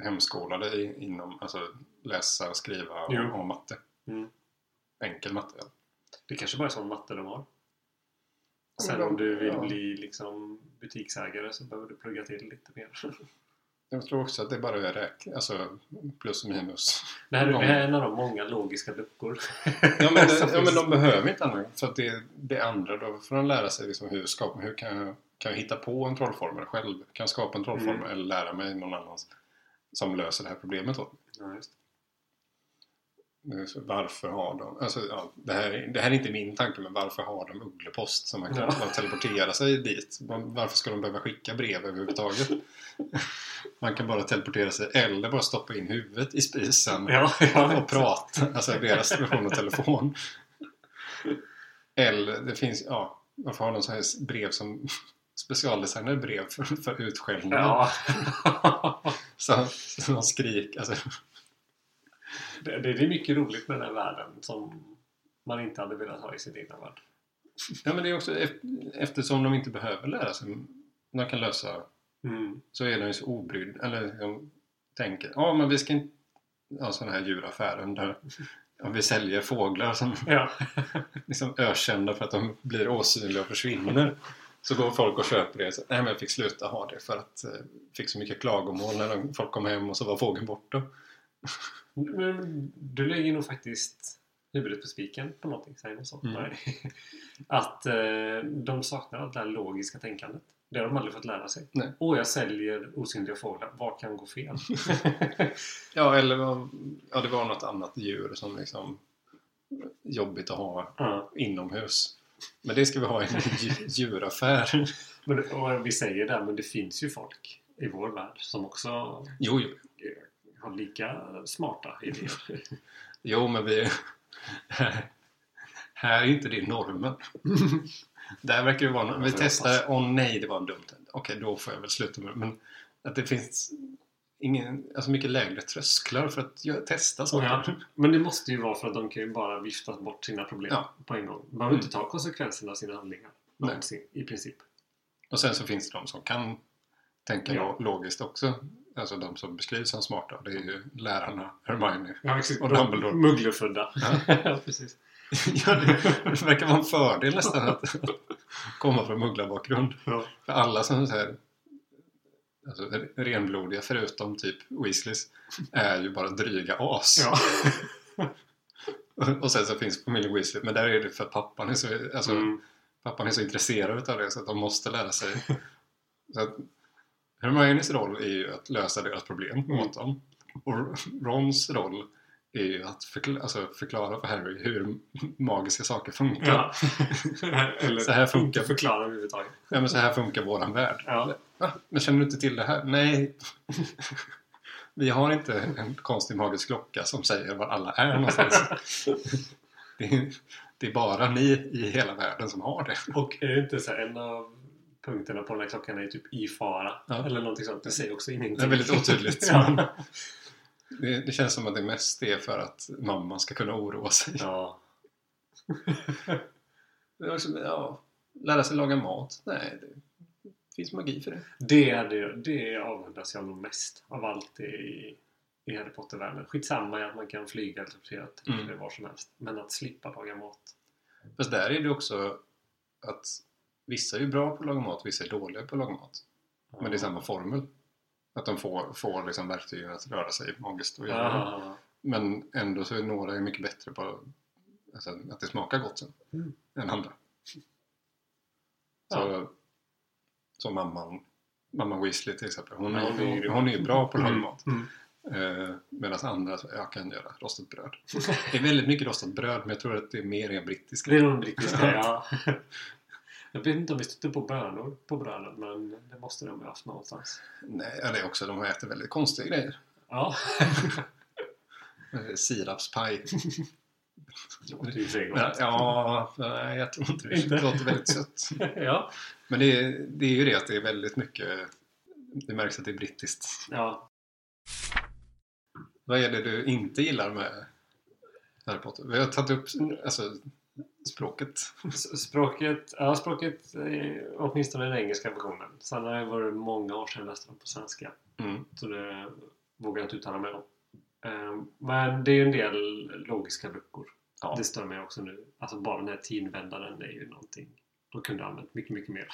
hemskolade i, inom, alltså läsa, skriva och,
Jo.
och matte.
Mm.
Enkel matte. ja.
Det kanske bara är sån matte de har. Sen
Ja,
om du vill
ja.
bli liksom butiksägare så behöver du plugga till lite mer.
Jag tror också att det bara är räk, alltså plus och minus.
Det här, det
Många.
här är en av de många logiska luckor.
Ja men,
Som
det, ja,
finns.
men de behöver inte annat. För att det, det andra, då får de lära sig liksom hur, skapa, hur kan, jag, kan jag hitta på en trollformel själv? Kan jag skapa en trollformel
Mm.
eller lära mig någon annans som löser det här problemet åt mig?
Ja, just.
Det är så, Varför har de... Alltså, ja, det, här, är- det här är inte min tanke, men varför har de ugglepost som man kan
Ja.
bara teleportera sig dit? Man- Varför ska de behöva skicka brev överhuvudtaget?
*laughs*
Man kan bara teleportera sig eller bara stoppa in huvudet i spisen
Ja, ja,
och prata, alltså deras version av telefon. Eller det finns, ja, varför har de så här brev som specialdesignade brev för, för utskällning?
Ja. *laughs*
Så, så de skrik, alltså,
Det, det det är mycket roligt med den här världen som man inte hade velat ha i sin egna värld.
ja, men det är också ef- eftersom de inte behöver lära sig, de kan lösa,
Mm.
så är de ju så obrydd, eller de tänker, ja men vi ska inte, ja sådana här djuraffären där ja, vi säljer fåglar som
Ja.
liksom ökända för att de blir osynliga och försvinner. Så går folk och köper det. Så, Nej men jag fick sluta ha det för att eh, fick så mycket klagomål när de, folk kom hem och så var fågeln borta.
Men du lägger nog faktiskt huvudet på spiken på någonting, säger man så?
Mm.
Nej. *laughs* Att eh, de saknar allt det här logiska tänkandet. Det har de aldrig fått lära sig.
Nej.
Åh, jag säljer osynliga fåglar. Vad kan gå
*laughs*
fel?
Ja eller vad- ja, det var något annat djur som liksom jobbigt att ha
ja.
inomhus. Men det ska vi ha i en dju- djuraffär. *laughs*
men, och vi säger det, här, men det finns ju folk i vår värld som också
Jo, jo,
har lika smarta idéer.
jo men vi... *laughs* Här är inte
*laughs*
det normen. Där verkar det vara någon, Vi
Jag får
testar,
hoppas.
åh nej det var en dum trend. Okej, då får jag väl sluta med det. Men att det finns ingen, alltså mycket lägre trösklar för att jag testa saker.
Ja, men det måste ju vara för att de kan ju bara vifta bort sina problem
Ja. Mm.
på en gång. De behöver inte ta konsekvenserna av sina handlingar.
Nej.
Någonsin, i princip.
Och sen så finns det de som kan tänka
Ja.
lo- logiskt också. Alltså de som beskrivs som smarta. Det är ju lärarna, Hermione.
Ja, precis.
Och
De-
Dumbledore.
Mugglerfödda.
Ja.
Ja, *laughs* precis.
*laughs* Ja, det, det verkar vara en fördel nästan att *laughs* komma från mugglarbakgrund.
Ja.
För alla som så här, alltså, renblodiga förutom typ Weasleys är ju bara dryga as.
Ja.
*laughs* Och sen så finns familjen Weasley, men där är det för att pappan är så, alltså,
Mm.
pappan är så intresserad av det så att de måste lära sig. *laughs* Så att, Hermiones roll är ju att lösa deras problem
Mm.
åt dem. Och Rons roll är ju att förkla- alltså, förklara för Harry hur magiska saker funkar. *laughs*
Ja. Eller
Så här funkar
inte
det.
förklara överhuvudtaget.
Ja, men så här funkar våran värld.
Ja.
Va? Men känner du inte till det här? Nej. *laughs* Vi har inte en konstig magisk klocka som säger var alla är någonstans. *laughs* Det är, det är bara ni i hela världen som har det.
Och är det inte så här, en av punkterna på den här klockan är typ i fara?
Ja.
Eller någonting sånt. Det säger också ingenting.
Det är väldigt
*laughs*
otydligt. *laughs*
ja.
Det, det känns som att det mest är för att mamman ska kunna oroa sig.
ja.
Det är också, ja, lära sig laga mat? Nej, det finns magi för det.
Det, är det, det avundas jag nog mest av allt det i, i Harry Potter-världen. Skitsamma i att man kan flyga eller teleportera till
Mm.
mm. var som helst. Men att slippa laga mat.
Fast där är det också att vissa är ju bra på att laga mat, vissa är dåliga på att laga mat. Men det är samma formel. Att de får, får liksom verktygen att röra sig magiskt och göra det.
Ja.
Men ändå så är några ju mycket bättre på alltså, att det smakar gott sen.
Mm.
Än andra. Så, så mamman, mamma Weasley till exempel. Hon,
Ja,
är,
hon är
hon,
grym.
hon är ju bra på att laga
Mm.
mat.
Mm.
Eh, Medan andra, så, jag kan göra rostat bröd. Det är väldigt mycket rostat bröd men jag tror att det är mer en brittisk
Det är nog en *laughs* brittisk grej, ja. Jag vet inte om vi stötte på bönor på brödet men det måste de ha haft någonstans.
Nej, ja, det är också, de äter väldigt konstiga grejer.
Ja. *laughs*
Eh, Sirapspaj.
Det låter ju i och för sig
Ja,
gott.
ja, nej, jag tror inte det.
Inte?
Det låter väldigt sött.
*laughs* Ja.
Men det är, det är ju det att det är väldigt mycket Det märks att det är brittiskt.
Ja,
Vad är det du inte gillar med Harry Potter? Vi har tagit upp alltså, språket.
S- Språket, ja, språket är åtminstone den engelska versionen. Sen har det varit många år sedan jag läste den på svenska.
Mm.
Så det vågar jag inte uttala mig om. Eh, Men det är ju en del logiska luckor.
Ja.
Det stör mig också nu. Alltså bara den här tidvändaren är ju någonting. De kunde ha använt mycket, mycket mer.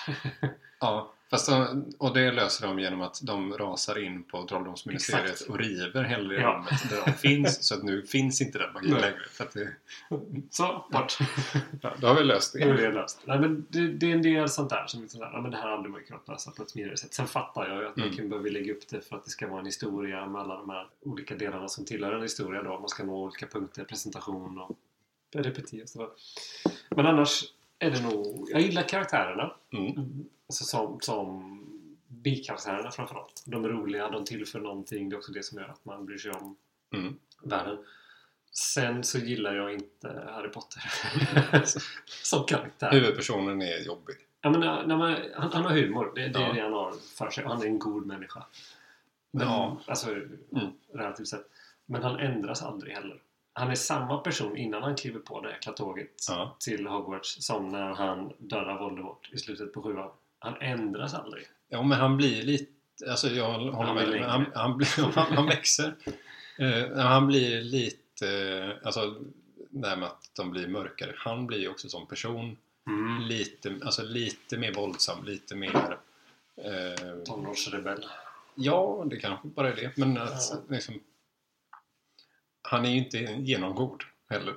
Ja, fast de, och det löser de genom att de rasar in på Trolldomsministeriet
Exakt.
och river hela det
Ja.
rummet där de finns. Så att nu finns inte den magin
Nej.
längre. För att det,
Så, bort!
ja, då har vi löst
Det är
det.
det löst. Nej, men det, det är en del sånt där som liksom, ja, men det här hade man ju kunnat lösa på ett smidigare sätt. Sen fattar jag ju att man
Mm.
kan behöva lägga upp det för att det ska vara en historia med alla de här olika delarna som tillhör en historia då. Man ska nå olika punkter, presentation och repetitiv och sådär. Men annars är det nog... Jag gillar karaktärerna.
Mm.
Alltså som, som bikaraktärerna framförallt. De är roliga, de tillför någonting. Det är också det som gör att man bryr sig om
Mm.
världen. Sen så gillar jag inte Harry Potter *laughs* som karaktär.
Huvudpersonen är jobbig.
Ja, men, när när man, han, han har humor, det, det
Ja.
är det han har för sig. Han är en god människa. Men,
Ja. Mm.
Alltså, relativt sett. Men han ändras aldrig heller. Han är samma person innan han kliver på det jäkla tåget
Ja.
till Hogwarts som när han dödar Voldemort i slutet på sjuan. Han ändras aldrig.
ja, men han blir lite... Alltså jag håller
Han blir
med. dig, men
längre.
Han, han, blir, *laughs* han, han växer. Eh, han blir lite... eh, Alltså det här med att de blir mörkare. Han blir ju också som person lite, alltså lite mer våldsam, lite mer... Eh,
Tonårsrebell.
ja, det kanske bara är det. Men att,
Ja.
liksom, han är ju inte genomgod heller.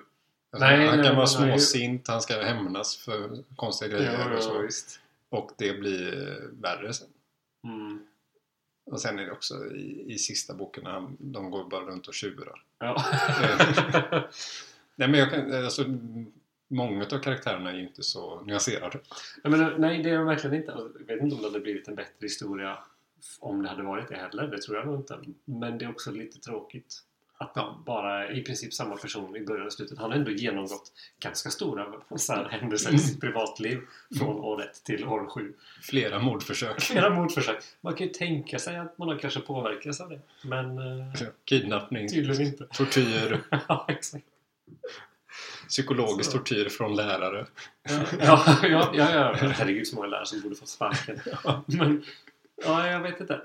Alltså,
Nej,
han
nej, men
kan vara
han är ju-
småsint, han ska hämnas för konstiga grejer och, så,
visst.
och det blir eh, värre sen.
Mm.
Och sen är det också i, i sista boken när han, de går bara runt och tjurar.
Ja. *laughs*
*laughs* Nej, men jag kan, alltså, många av karaktärerna är ju inte så nyanserade.
Jag menar, nej, det är de verkligen inte. Och Jag vet inte om det hade blivit en bättre historia om det hade varit det heller. Det tror jag nog inte. Men det är också lite tråkigt. Att det bara i princip samma person i början och slutet. Han har ändå genomgått ganska stora så här, händelser i sitt privatliv. Från år 1 till år 7.
Flera mordförsök. *laughs*
Flera mordförsök. Man kan ju tänka sig att man har kanske påverkats av det. Men eh,
Kidnappning,
tydligen inte. *laughs*
tortyr,
ja, exakt.
psykologisk
Så.
tortyr från lärare.
Ja, ja, ja, ja. *laughs* Herregud så många lärare som borde fått *laughs* sparken. Men, ja, jag vet inte.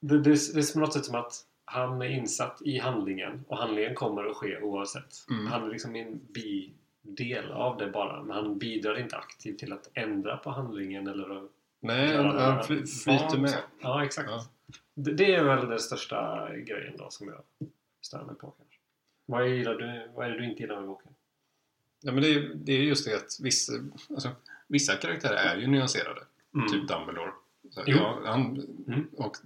Det, det, det är på något sätt som att han är insatt i handlingen och handlingen kommer att ske oavsett.
Mm.
Han är liksom en bidel av det bara, men han bidrar inte aktivt till att ändra på handlingen eller att
Nej,
göra
han
några
han fly,
val
flyter
och
med.
så. Ja, exakt.
Ja.
Det, det är väl den största grejen då som jag stör mig på kanske. Vad, gillar du, vad är det du inte gillar med boken?
Ja, men det, är, det är just det att vissa, alltså, vissa karaktärer är ju nyanserade. Typ Dumbledore. Så,
Mm. Jo.
ja, han,
Mm.
Och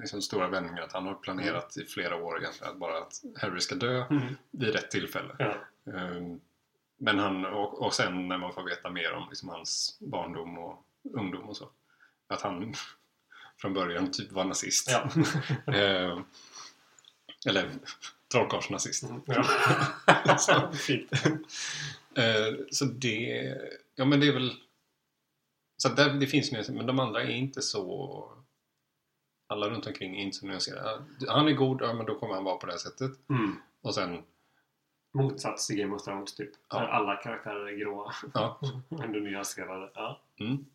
liksom stora vändningar att han har planerat i flera år egentligen att bara att Harry ska dö
Mm.
vid rätt tillfälle.
Ja.
Ehm, Men han, och, och sen när man får veta mer om liksom hans barndom och ungdom och så. Att han *laughs* från början typ var
*laughs*
nazist.
Ja.
Ehm, Eller *laughs*
*laughs*
trollkarlsnazist.
Mm,
*laughs*
ja. Fint.
Eh, Så det... Ja men det är väl... Så att där, det finns nyanser, men de andra är inte så... Alla runt omkring är inte så nyanserade. Han är god, ja men då kommer han vara på det här sättet.
Mm.
Och sen...
motsats till Game of Thrones typ.
Ja.
Där alla karaktärer är gråa. *laughs*
Ja,
Men du nyanserade. Ja.
mm.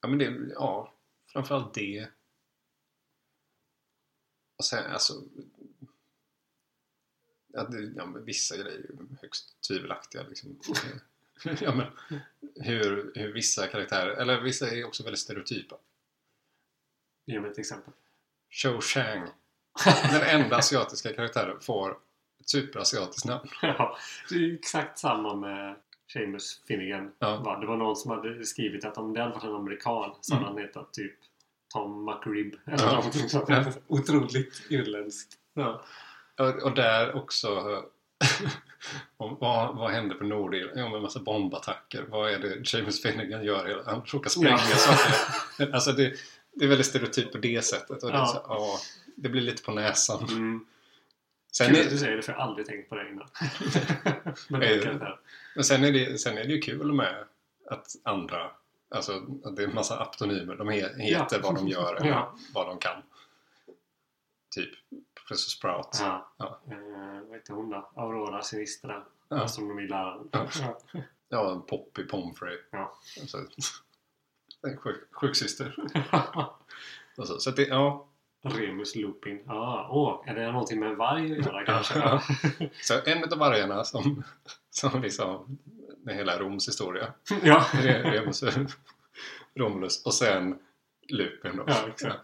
ja men det... Ja, framförallt det. Och sen alltså... Ja, det, ja, men vissa grejer är ju högst tvivelaktiga liksom. ja, men, hur, hur vissa karaktärer... Eller vissa är också väldigt stereotypa.
Ge mig ett exempel. *laughs*
Cho Chang. Den enda asiatiska karaktären får ett superasiatiskt namn.
ja, det är ju exakt samma med Seamus Finnegan.
Ja.
Va? Det var någon som hade skrivit att om det hade varit en amerikan så hade han hetat typ Tom McRib. Eller
Mm. Ja.
någonting sånt.
Ja.
Otroligt irländskt. Ja.
Och, och där också... *laughs* om, vad, vad hände på Nordirland? Jo, med en massa bombattacker. Vad är det James Finnegan gör? Han råkar spränga *laughs*
Ja.
saker. Alltså det, det är väldigt stereotypt på det sättet. Och det, är
Ja.
så, ja, det blir lite på näsan.
Mm.
Sen
Kul att du
är,
säger det för jag har aldrig tänkt på det
*laughs*
innan. Men
Eh,
det kan jag inte.
men sen är, det, sen är det ju kul med att andra Alltså att det är en massa aptonymer. De he- heter
Ja.
vad de gör eller
*laughs* Ja.
vad de kan. Typ Professor Sprout.
Ja.
Ja.
Eh, vad heter hon då? Aurora Sinistra.
Ja.
Astronomiläraren.
Ja.
Ja.
Ja, Poppy Pomfrey.
Ja.
Alltså, en sjuk, sjuksyster. Alltså, så att det, ja.
*laughs* Remus Lupin. Ja, åh, är det någonting med en varg att göra kanske?
Ja. *laughs* Så en av vargarna som, som liksom, med hela Roms historia.
ja.
Re- Remus, Romulus och sen Lupin då.
Ja, exakt.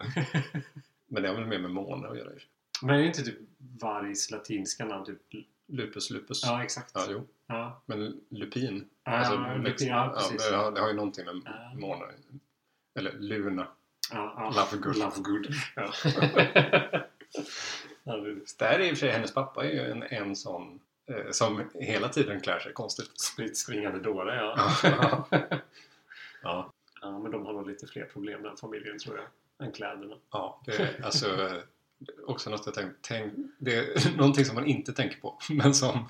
Men det har väl mer med måne att göra. i.
Men är inte typ vargs latinska namn typ?
Lupus, Lupus.
Ja, exakt.
ja jo.
Ja.
Men lupin.
Ja,
Alltså,
ja,
liksom-
ja, precis.
ja, det, har, det har ju någonting med
Ja.
måne. Eller luna.
Ja, ja.
Love good.
Love good.
*laughs*
Ja. Ja, det-
Där är i och för sig hennes pappa är ju en, en sån eh, som hela tiden klär sig konstigt.
Spritt springande dåre, ja.
Ja. ja.
ja. Men de har nog lite fler problem den familjen tror jag. Än kläderna.
Ja, det är alltså eh, också något jag tänkt, tänk, det är *laughs* någonting som man inte tänker på, *laughs* men som,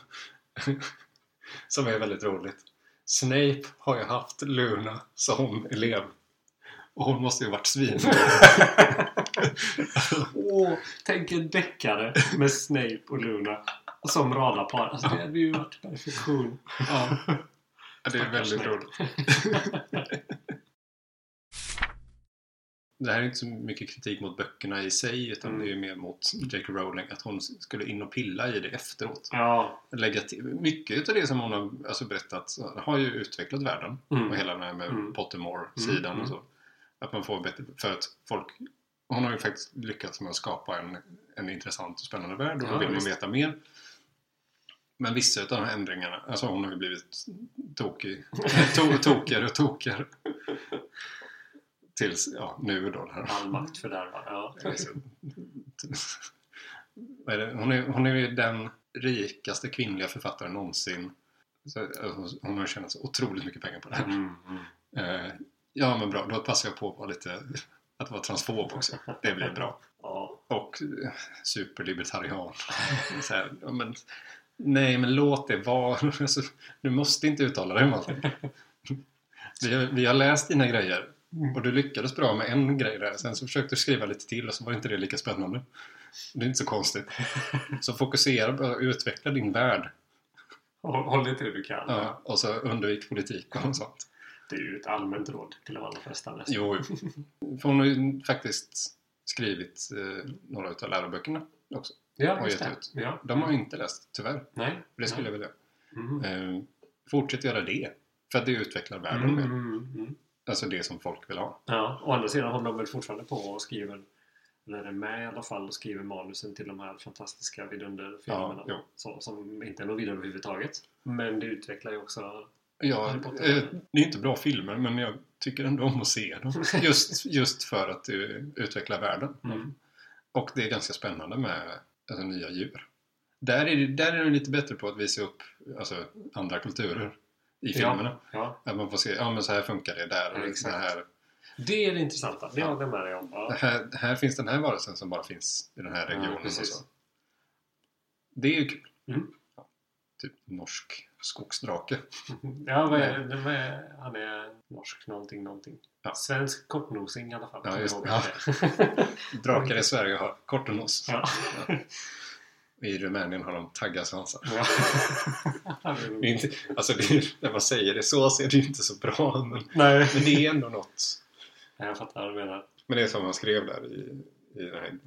som är väldigt roligt. Snape har ju haft Luna som elev och hon måste ju varit svin.
Åh, tänk en deckare med Snape och Luna som radarpar. Alltså, det hade ju varit perfektion.
Ja, det är väldigt
Snape.
roligt. *laughs* Det här är inte så mycket kritik mot böckerna i sig utan
Mm.
det är ju mer mot J.K. Rowling att hon skulle in och pilla i det efteråt.
Ja.
lägga till. Mycket av det som hon har alltså, berättat så har ju utvecklat världen. Och
Mm.
hela den här med
Mm.
Pottermore-sidan
Mm,
och så. Att man får bättre, för att folk... Hon har ju faktiskt lyckats med att skapa en, en intressant och spännande värld och då
Ja,
vill man
visst.
veta mer. Men vissa av de här ändringarna, alltså hon har ju blivit
*laughs*
tokig, to, tokigare och tokigare. Tills, ja, nu då. Där.
All makt fördärvar. Ja.
*laughs* Vad är det? Hon, är, hon är ju den rikaste kvinnliga författaren någonsin. Så, eh, hon- hon har tjänat så otroligt mycket pengar på det här.
Mm, mm.
Eh, ja, men bra. Då passar jag på att vara lite... Att vara transfob också. Det blir bra.
Ja.
Och eh, superlibertarian. *laughs* Så här, ja, men, nej, men låt det vara. *laughs* Alltså, du måste inte uttala dig om allting. Vi har, vi har läst dina grejer. Och du lyckades bra med en grej där. Sen så försökte du skriva lite till och så var inte det lika spännande. Det är inte så konstigt. Så fokusera på att utveckla din värld.
Håll, håll dig till det du kan.
Ja, och så undvik politik och sånt.
Det är ju ett allmänt råd till de allra flesta nästan.
Jo,
*laughs*
jo. för hon har ju faktiskt skrivit eh, några av läroböckerna också.
Ja,
Och
just
gett
det.
ut.
Ja.
De har jag inte läst, tyvärr.
Nej.
Det skulle
Nej.
jag vilja.
Mm.
Eh, fortsätt göra det. För att det utvecklar världen
Mm,
mer.
mm, mm.
Alltså det som folk vill ha.
Ja, å andra sidan håller de väl fortfarande på och skriver, eller är med i alla fall, och skriver manusen till de här fantastiska vidunderfilmerna.
Ja, jo.
så, som inte är någon vidare överhuvudtaget. Men det utvecklar ju också...
Ja,
Harry Potter.
eh, det är inte bra filmer men jag tycker ändå om att se dem.
*laughs*
Just, just för att eh, utveckla världen.
Mm.
Och det är ganska spännande med alltså, nya djur. Där är, det, där är de lite bättre på att visa upp alltså, andra kulturer i filmerna.
Ja,
Att man får se, ja men så här funkar det där.
Ja,
och
exakt.
det här,
det är det intressanta. Det håller jag med dig om.
det *laughs*
Ja.
här, här finns den här varelsen som bara finns i den här
Ja,
regionen. och
precis.
så. Det är ju kul.
Mm.
Ja, typ norsk skogsdrake.
Ja, vad är, det med, han är norsk någonting, någonting.
Ja.
Svensk kortnosing i alla fall.
Ja,
kommer
just
jag
det.
ihåg det.
Drakar i Sverige har kortenås.
ja.
I Rumänien har de taggasvansar.
*laughs*
*laughs*
Ja.
Det är inte, alltså det är, när man säger det så ser det ju inte så bra men,
Nej.
men det är ändå något.
Nej, jag fattar vad du menar.
Men det är som man skrev där i, i den här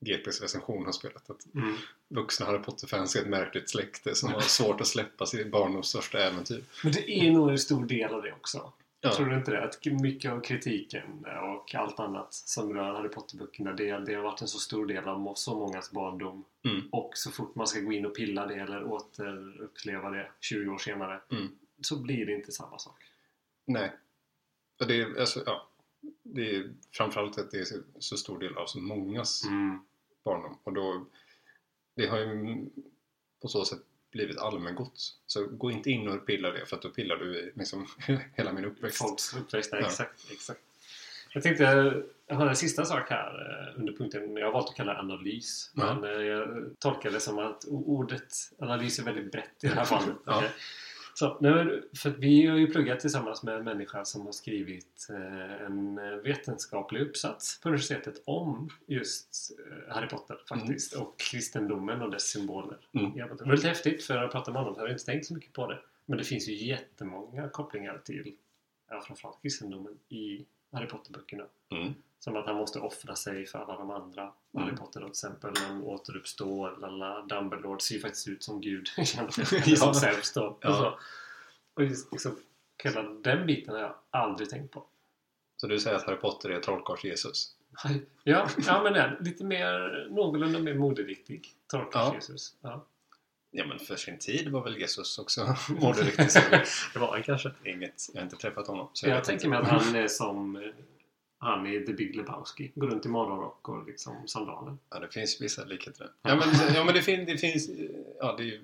GPs recension har spelat att
Mm.
vuxna Harry Potter-fans är ett märkligt släkte som har svårt att släppa sitt barndoms största äventyr.
Men det är nog en stor del av det också.
Ja.
Tror du inte det? Att mycket av kritiken och allt annat som rör Harry Potter-böckerna, det, det har varit en så stor del av må- så mångas barndom.
Mm.
Och så fort man ska gå in och pilla det eller återuppleva det 20 år senare
Mm.
så blir det inte samma sak.
Nej. Och det är, alltså, ja, det är framförallt att det är så- så stor del av så mångas barndom. Och då, det har ju på så sätt blivit allmängott. Så gå inte in och pilla det för att då pillar du i liksom, *laughs* hela min uppväxt.
Folks uppväxt. Ja.
Ja.
Exakt, exakt. Jag tänkte, jag har en sista sak här eh, under punkten. Jag har valt att kalla det analys.
Ja.
Men eh, jag tolkar det som att o- ordet analys är väldigt brett i det här fallet.
*laughs* Ja.
Okej. Så, nej, men för att vi har ju pluggat tillsammans med en människa som har skrivit eh, en vetenskaplig uppsats på universitetet om just eh, Harry Potter faktiskt och kristendomen och dess symboler.
Mm.
Ja, det var lite häftigt för jag pratade med honom så hade jag inte tänkt så mycket på det. Men det finns ju jättemånga kopplingar till ja, framförallt kristendomen i Harry Potter-böckerna.
Mm.
Som att han måste offra sig för alla de andra. Harry Potter då, till exempel, han återuppstår, lala, Dumbledore ser ju faktiskt ut som Gud. *laughs* I som
Ja.
sämst då.
Ja.
Och, så. och just liksom, hela den biten har jag aldrig tänkt på.
Så du säger att Harry Potter är trollkarls-Jesus?
Ja, ja men den, lite mer, någorlunda mer moderiktig. Torkars
Ja.
Jesus. Ja.
Ja, men för sin tid var väl Jesus också *laughs* moderiktig. så
*laughs* Det var han kanske.
Inget, jag har inte träffat honom. Så
Jag,
vet
tänker
inte.
mig att han är som eh, han i The Big Lebowski. Går runt i morgonrock och liksom sandaler.
Ja, det finns vissa likheter. där. Ja, men, ja, men det, fin, det finns ja, det är-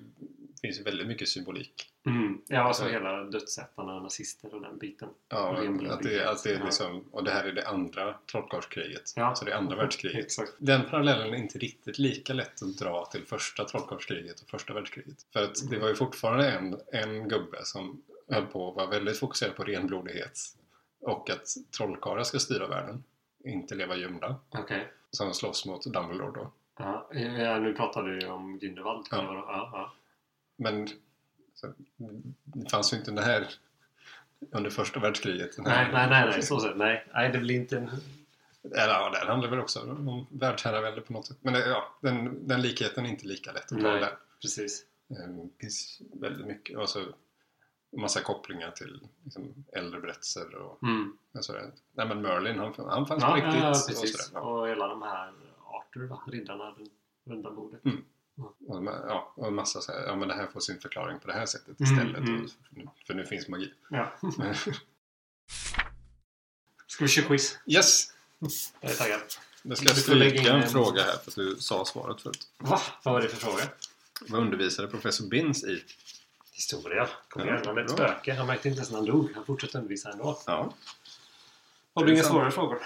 finns ju väldigt mycket symbolik.
Mm. Ja, alltså
Ja.
hela dödsätarna, nazister och den biten.
Ja,
Rimliga
att det, att det är
Ja.
liksom, och det här är det andra trollkarlskriget.
Ja.
Så det är andra världskriget.
Exakt.
Den parallellen är inte riktigt lika lätt att dra till första trollkarlskriget och första världskriget. För att det var ju fortfarande en, en gubbe som höll på att vara väldigt fokuserad på renblodighet och att trollkarlar ska styra världen, inte leva gömda.
Okej.
Som slåss mot Dumbledore då.
Ja, ja, nu pratar du ju om Grindelwald.
Ja.
eller vadå? Ja, ja.
Men så, det fanns ju inte det här under första världskriget. Den här-
Nej, nej, nej, nej, så sett. Nej, nej, det blir inte en...
Eller ja, det handlar väl också om världsherravälde på något sätt. Men eh, ja, den, den likheten är inte lika lätt att dra
Nej.
där.
Precis.
Eh, Det finns väldigt mycket, alltså massa kopplingar till liksom, äldre berättelser och
Mm.
alltså, Nej men Merlin, han, han fanns på
Ja,
riktigt.
ja, ja,
och,
precis.
sådär, ja.
Och hela de här Arthur, va? Riddarna, runt- runda bordet.
Och, de här- ja, och en massa så här, ja men det här får sin förklaring på det här sättet
Mm,
istället.
mm.
Och, för nu finns magi.
Ja. *laughs* Ska vi köra quiz?
yes!
Jag är taggad.
Nu ska jag
Du får lägga
stryka
in
en
en-
fråga här för att du sa svaret förut.
Va? Vad var det för fråga?
Vad undervisade professor Binns i?
Historia. Kom
Ja,
igen, han är ett
bra.
spöke. Han märkte inte ens när han dog. Han fortsatte undervisa ändå.
Ja.
Har du inga svårare frågor?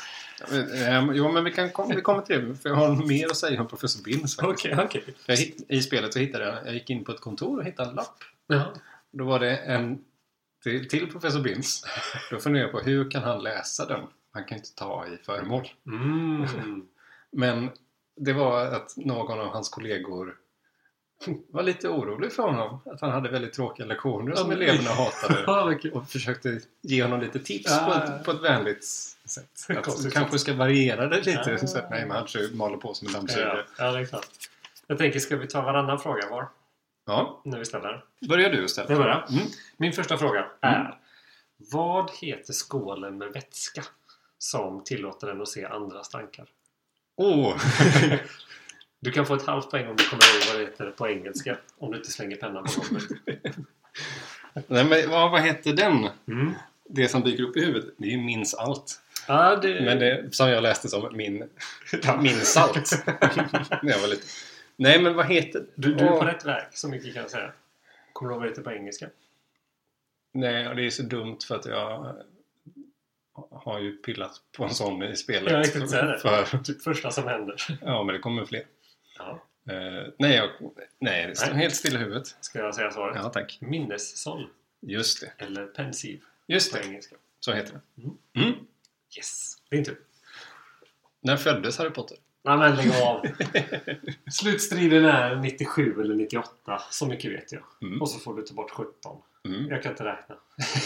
Eh, Jo, men vi, kan kom, vi kommer till det. För jag har mer att säga om professor Binns faktiskt.
okej.
Jag hitt, I spelet så hittade jag, jag gick in på ett kontor och hittade en lapp.
Ja.
Då var det en till, till professor Binns. Då funderade jag på hur kan han läsa den? Han kan ju inte ta i föremål.
*laughs* Mm.
Men det var att någon av hans kollegor *laughs* var lite orolig för honom. Att han hade väldigt tråkiga lektioner som
Ja, men- *laughs*
eleverna hatade.
Ja, vad kul.
Och försökte ge honom lite tips
Ah.
på, ett, på ett vänligt sätt. Att du
Konstigt.
kanske ska variera det lite.
Ah.
Så att, nej, men han kör- maler på som en
Ja,
dammsugare.
ja, det är klart. Jag tänker, ska vi ta varannan fråga var?
Ja.
När vi ställer.
Börjar du
Jag
istället.
börjar.
Mm.
Min första fråga är. Vad heter skålen med vätska som tillåter den att se andras tankar?
Åh!
Du kan få ett halvt poäng om du kommer ihåg vad det heter på engelska. Om du inte slänger pennan på
*laughs*
golvet.
Nej, men vad, vad hette den?
Mm.
Det som dyker upp i huvudet, det är ju minns allt.
Ja, det...
Men det som jag läste som min, min salt. *laughs* När jag var liten. Nej, men vad heter...
du, du är på
Åh,
rätt väg, så mycket kan jag säga. Kommer du ihåg vad det heter på engelska?
Nej, och det är så dumt för att jag har ju pillat på en sån i spelet.
Ja, jag tänkte säga det.
För,
Typ första som händer.
ja, men det kommer fler.
Ja.
Eh, nej, jag, nej, det står
Nej.
helt stilla i huvudet.
Ska jag säga svaret?
Ja, tack.
Minnessång.
Just det.
Eller pensiv
Just
på
det,
engelska.
så heter det.
Mm.
Mm.
Yes! Din tur.
När föddes Harry Potter?
Nej men lägg av! *laughs* Slutstriden är 97 eller 98. Så mycket vet jag.
Mm.
Och så får du ta bort 17.
Mm.
Jag kan inte räkna.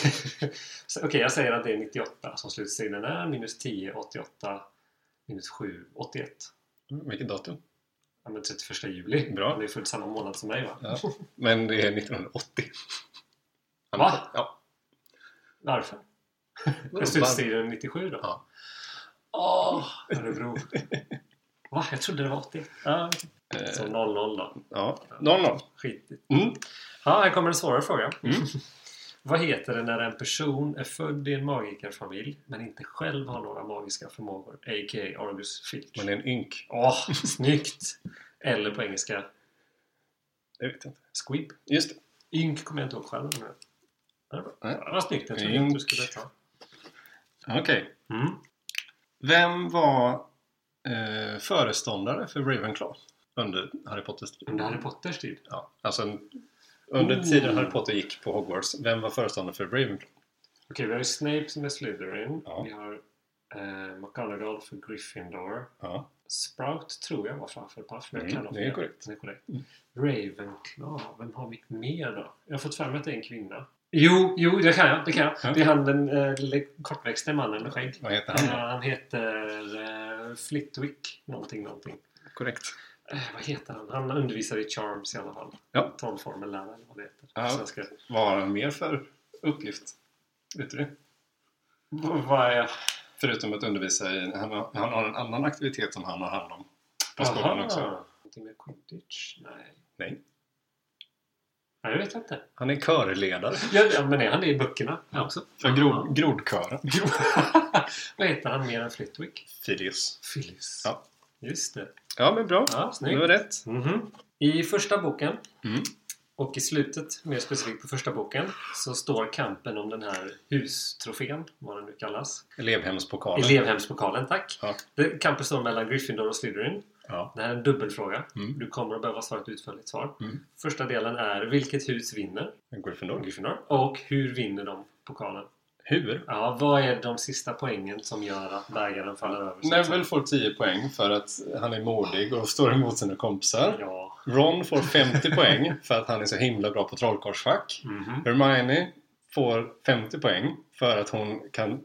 *laughs* Så, Okej, jag säger att det är 98 som slutstriden är. Minus 10, 88. Minus 7, 81.
Mm, Vilket datum?
Ja, men 31 juli.
Bra.
Han är född samma månad som mig va?
Ja. Men det är 1980.
Va?
Ja.
Varför?
Vadå,
Är
varför?
slutstriden 97 då?
Ja.
Åh!
*laughs*
Örebro. Va? Jag trodde det var 81. Ja.
Eh,
Så 00 då.
Ja, 0-0.
Skit i.
Mm.
Ja, här kommer en svårare fråga.
Mm.
*laughs* Vad heter det när en person är född i en magikerfamilj men inte själv har några magiska förmågor? A.k.a. Argus Filch.
Man är en ynk.
Åh, snyggt! Eller på engelska
Det vet jag inte.
Squib.
Just det.
Ynk kommer jag inte ihåg själv. Men... Ja,
Nej.
det var snyggt. Jag trodde inte du
Ynk.
skulle ta.
Okej.
Mm.
Vem var eh, föreståndare för Ravenclaw under Harry Potters tid?
Under Harry Potters tid.
Ja, alltså en Under
Oh.
tiden Harry Potter gick på Hogwarts, vem var föreståndare för Ravenclaw?
Okej, vi har ju Snape som är Slytherin.
Ja.
Vi har eh, McGonagall för Gryffindor.
Ja,
Sprout tror jag var framför Puff, men jag
Mm,
kan ha
det är
fel.
korrekt.
Det är korrekt. Ravenclaw, vem har vi mer då? Jag har fått för mig att det är en kvinna. Jo, jo, det kan jag. Det, kan jag.
Ja.
det är han den eh, lille kortväxte mannen med skägg.
vad heter
Eh,
han?
han heter eh, Flitwick någonting, någonting.
Korrekt.
Eh, vad heter han? Han undervisar i Charms i alla fall.
Ja.
Trollformellärare eller vad det heter.
Ja.
Svenska.
Vad har han mer för uppgift? Vet du det?
V- Vad är...
Förutom att undervisa i... Han har, han har en annan aktivitet som han har hand om på skolan
Aha.
också.
Någonting med quidditch? Nej.
Nej.
Nej, jag vet inte.
Han är körledare
Ja, ja, men är han det i böckerna
Ja.
också?
för grod, grodkören.
*laughs* Vad heter han mer än Flitwick?
Filius.
Phyllis.
Ja.
Just det.
Ja, men bra.
Ja,
det
snyggt.
var rätt.
Mhm. I första boken
Mm.
och i slutet, mer specifikt på första boken, så står kampen om den här hustrofén, vad den nu kallas.
Elevhemspokalen.
Elevhemspokalen, tack.
Ja.
Det, kampen står mellan Gryffindor och Slytherin.
Ja.
Det här är en dubbelfråga.
Mm.
Du kommer att behöva svara ett utförligt svar.
Mm.
Första delen är vilket hus vinner
Gryffindor.
Gryffindor och hur vinner de pokalen?
Hur?
Ja, vad är de sista poängen som gör att bägaren faller över? så att säga?
Neville får 10 poäng för att han är modig och står emot sina kompisar.
Ja.
Ron får 50 poäng för att han är så himla bra på trollkarlsschack. *laughs*
Mhm.
Hermione får 50 poäng för att hon kan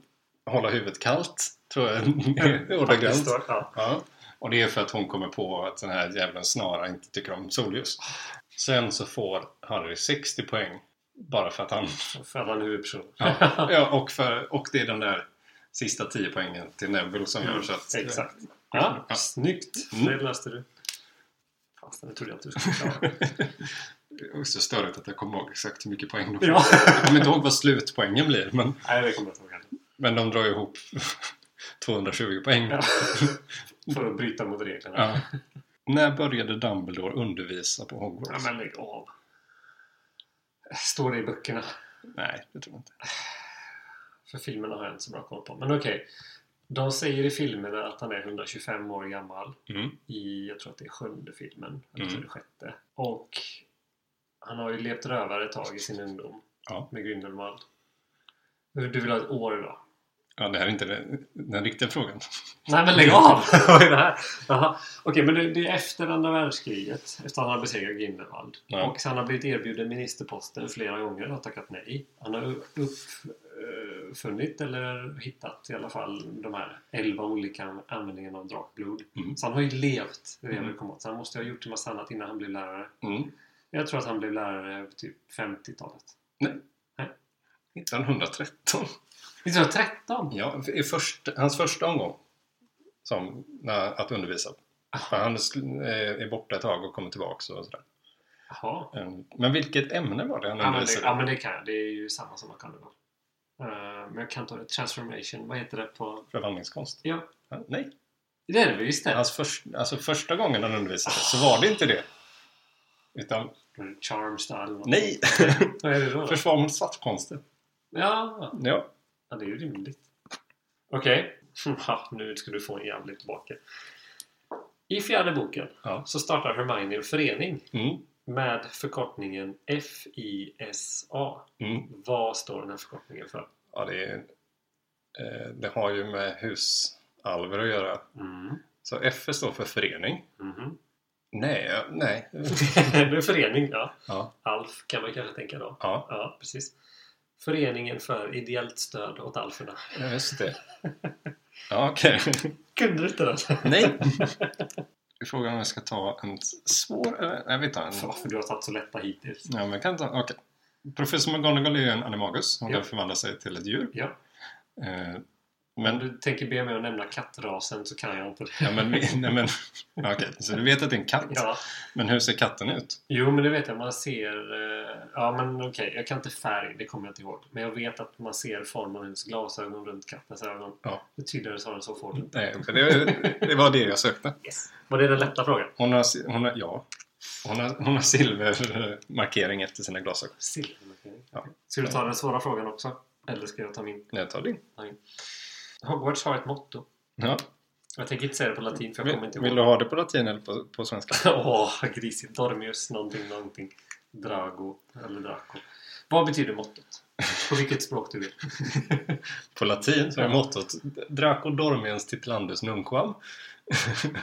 hålla huvudet kallt, tror jag är
Faktiskt
ordagrant.
står- Ja.
Ja. Och det är för att hon kommer på att den här djävulen Snara inte tycker om solljus. Sen så får Harry 60 poäng bara för att han...
För att han är huvudperson.
Ja, ja och, för, och det är den där sista 10 poängen till Neville som gör så att...
Exakt. Ja,
Ja.
snyggt!
Mm.
Det löste du. Fast det trodde jag inte du skulle klara.
Det är så störigt att jag kommer ihåg exakt hur mycket poäng de
*laughs*
får.
ja.
Jag kommer inte ihåg vad slutpoängen blir, men,
Nej, det kommer jag inte ihåg heller.
men de drar ihop *laughs* 220 poäng.
Ja. *laughs* För att bryta mot reglerna.
Ja. När började Dumbledore undervisa på
Ja,
Hogwarts?
men lägg av. Står det i böckerna?
Nej, det tror jag inte.
För filmerna har jag inte så bra koll på. Men okej. De säger i filmerna att han är 125 år gammal.
Mm.
I, jag tror att det är sjunde filmen. Eller
Mm.
så är det sjätte. Och han har ju levt rövare ett tag i sin ungdom.
Ja.
Med Grindelwald. Du vill ha ett år då?
ja, det här är inte den, den riktiga frågan.
Nej men lägg av! *laughs* Vad är det här? Jaha. Okej, men det, det är efter andra världskriget. Efter att han har besegrat Grindelwald.
Ja.
Och han har blivit erbjuden ministerposten flera gånger och har tackat nej. Han har uppfunnit, eller hittat i alla fall, de här elva olika användningarna av drakblod.
Mm.
Så han har ju levt, det är det jag vill
Mm.
komma åt. Så han måste ju ha gjort en massa annat innan han blev lärare.
Mm.
Jag tror att han blev lärare typ 50-talet.
1913.
1913?
Ja, i först, hans första omgång som, när, att undervisa. För han sk- eh, är borta ett tag och kommer tillbaka och sådär.
Jaha.
Mm. Men vilket ämne var det han
Ja men, det,
undervisade?
ja men det kan jag. Det är ju samma som McConaughey. Uh, men jag kan ta det. Transformation. Vad heter det på...
Förvandlingskonst?
Ja,
Ja, nej.
det är det visst det.
Hans först, alltså första gången han undervisade så var det inte det. Utan,
Charms där Mm. eller något.
nej! *laughs*
Vad är det då?
Försvar mot svartkonster.
Ja,
Ja.
ja, det är ju rimligt. Okej. *laughs* Ja, nu ska du få en jävligt tillbaka. I fjärde boken
Ja.
så startar Hermione en förening
Mm.
med förkortningen FISA.
Mm.
Vad står den här förkortningen för?
Ja, det, är, eh, det har ju med husalver att göra.
Mm.
Så F står för förening.
Mhm.
Nej, ja, nej.
*laughs* det är en förening, ja.
Ja,
ALF kan man kanske tänka då.
ja
Ja, precis. Föreningen för ideellt stöd åt alferna.
ja,
*laughs*
just det. Ja, okej.
Kunde du inte den?
Nej. Frågan om jag ska ta en svår eller? Nej, vi tar en.
Varför du har tagit så lätta hittills?
Ja, men jag kan ta, okej. Professor McGonagall är ju en animagus. Hon
Ja.
kan förvandla sig till ett djur.
Ja.
Eh,
Men
men
du tänker be mig att nämna kattrasen så kan jag inte det.
Ja, men, vi- nej,
*laughs*
men ja, okej, så du vet att det är en katt.
Ja.
Men hur ser katten ut?
Jo, men det vet jag. Man ser... eh, Ja, men okej. Jag kan inte färg, det kommer jag inte ihåg. Men jag vet att man ser formen av hennes glasögon runt kattens ögon.
Ja.
Det tydligare svar än så får du.
Nej, för det, det var det jag sökte.
Yes. Var det den lätta frågan?
Hon har, si- hon har, ja. hon har, hon har silvermarkering efter sina glasögon.
Silvermarkering.
Ja.
Ska du ta den svåra frågan också? Eller ska jag ta min?
Jag tar din.
Hogwarts har ett motto.
Ja.
Jag tänker inte säga det på latin för jag kommer
Vill,
inte ihåg. *laughs*
vill du ha det på latin eller på, på svenska?
Åh, grisigt. Dormius någonting, någonting. Drago eller Draco. Vad betyder mottot? På vilket språk du vill.
På latin så är
Ja.
mottot Draco dormiens titlandus nunquam.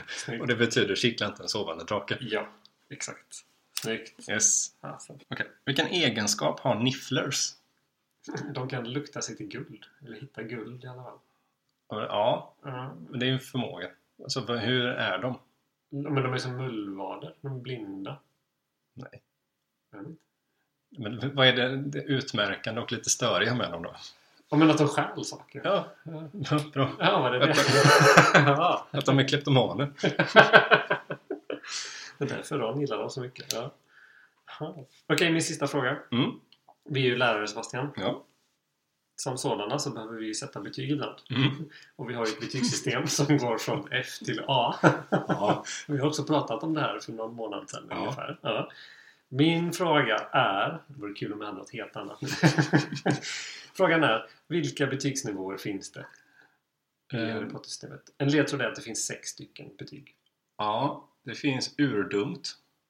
Snyggt.
Och det betyder kittla inte en sovande drake.
Ja, exakt. Snyggt.
Yes.
Alltså,
Okej. Vilken egenskap har nifflers?
de kan lukta sig till guld. Eller hitta guld i alla fall.
Ja,
Ja.
det är ju en förmåga. Alltså, vad- hur är de?
Men de är som mullvader. De är blinda.
Nej.
Jag vet inte.
Men vad är det, det utmärkande och lite störiga med dem då?
Ja, men att de stjäl saker. Ja,
Ja, bra.
vad det är det. *laughs* Ja.
Att de är kleptomaner.
Det är därför Ron gillar dem så mycket. Ja. Ja. Okej, min sista fråga.
Mm.
Vi är ju lärare Sebastian.
Ja.
Som sådana så behöver vi ju sätta betyg ibland.
Mm.
*laughs* Och vi har ju ett betygssystem som går från F till A.
ja.
*laughs* Vi har också pratat om det här för någon månad sedan
Ja.
ungefär. Ja. Min fråga är... Det vore kul om jag hade något helt annat. *laughs* Frågan är, vilka betygsnivåer finns det i
Eh,
Harry Potter-systemet? En ledtråd är att det finns sex stycken betyg.
ja, det finns urdumt.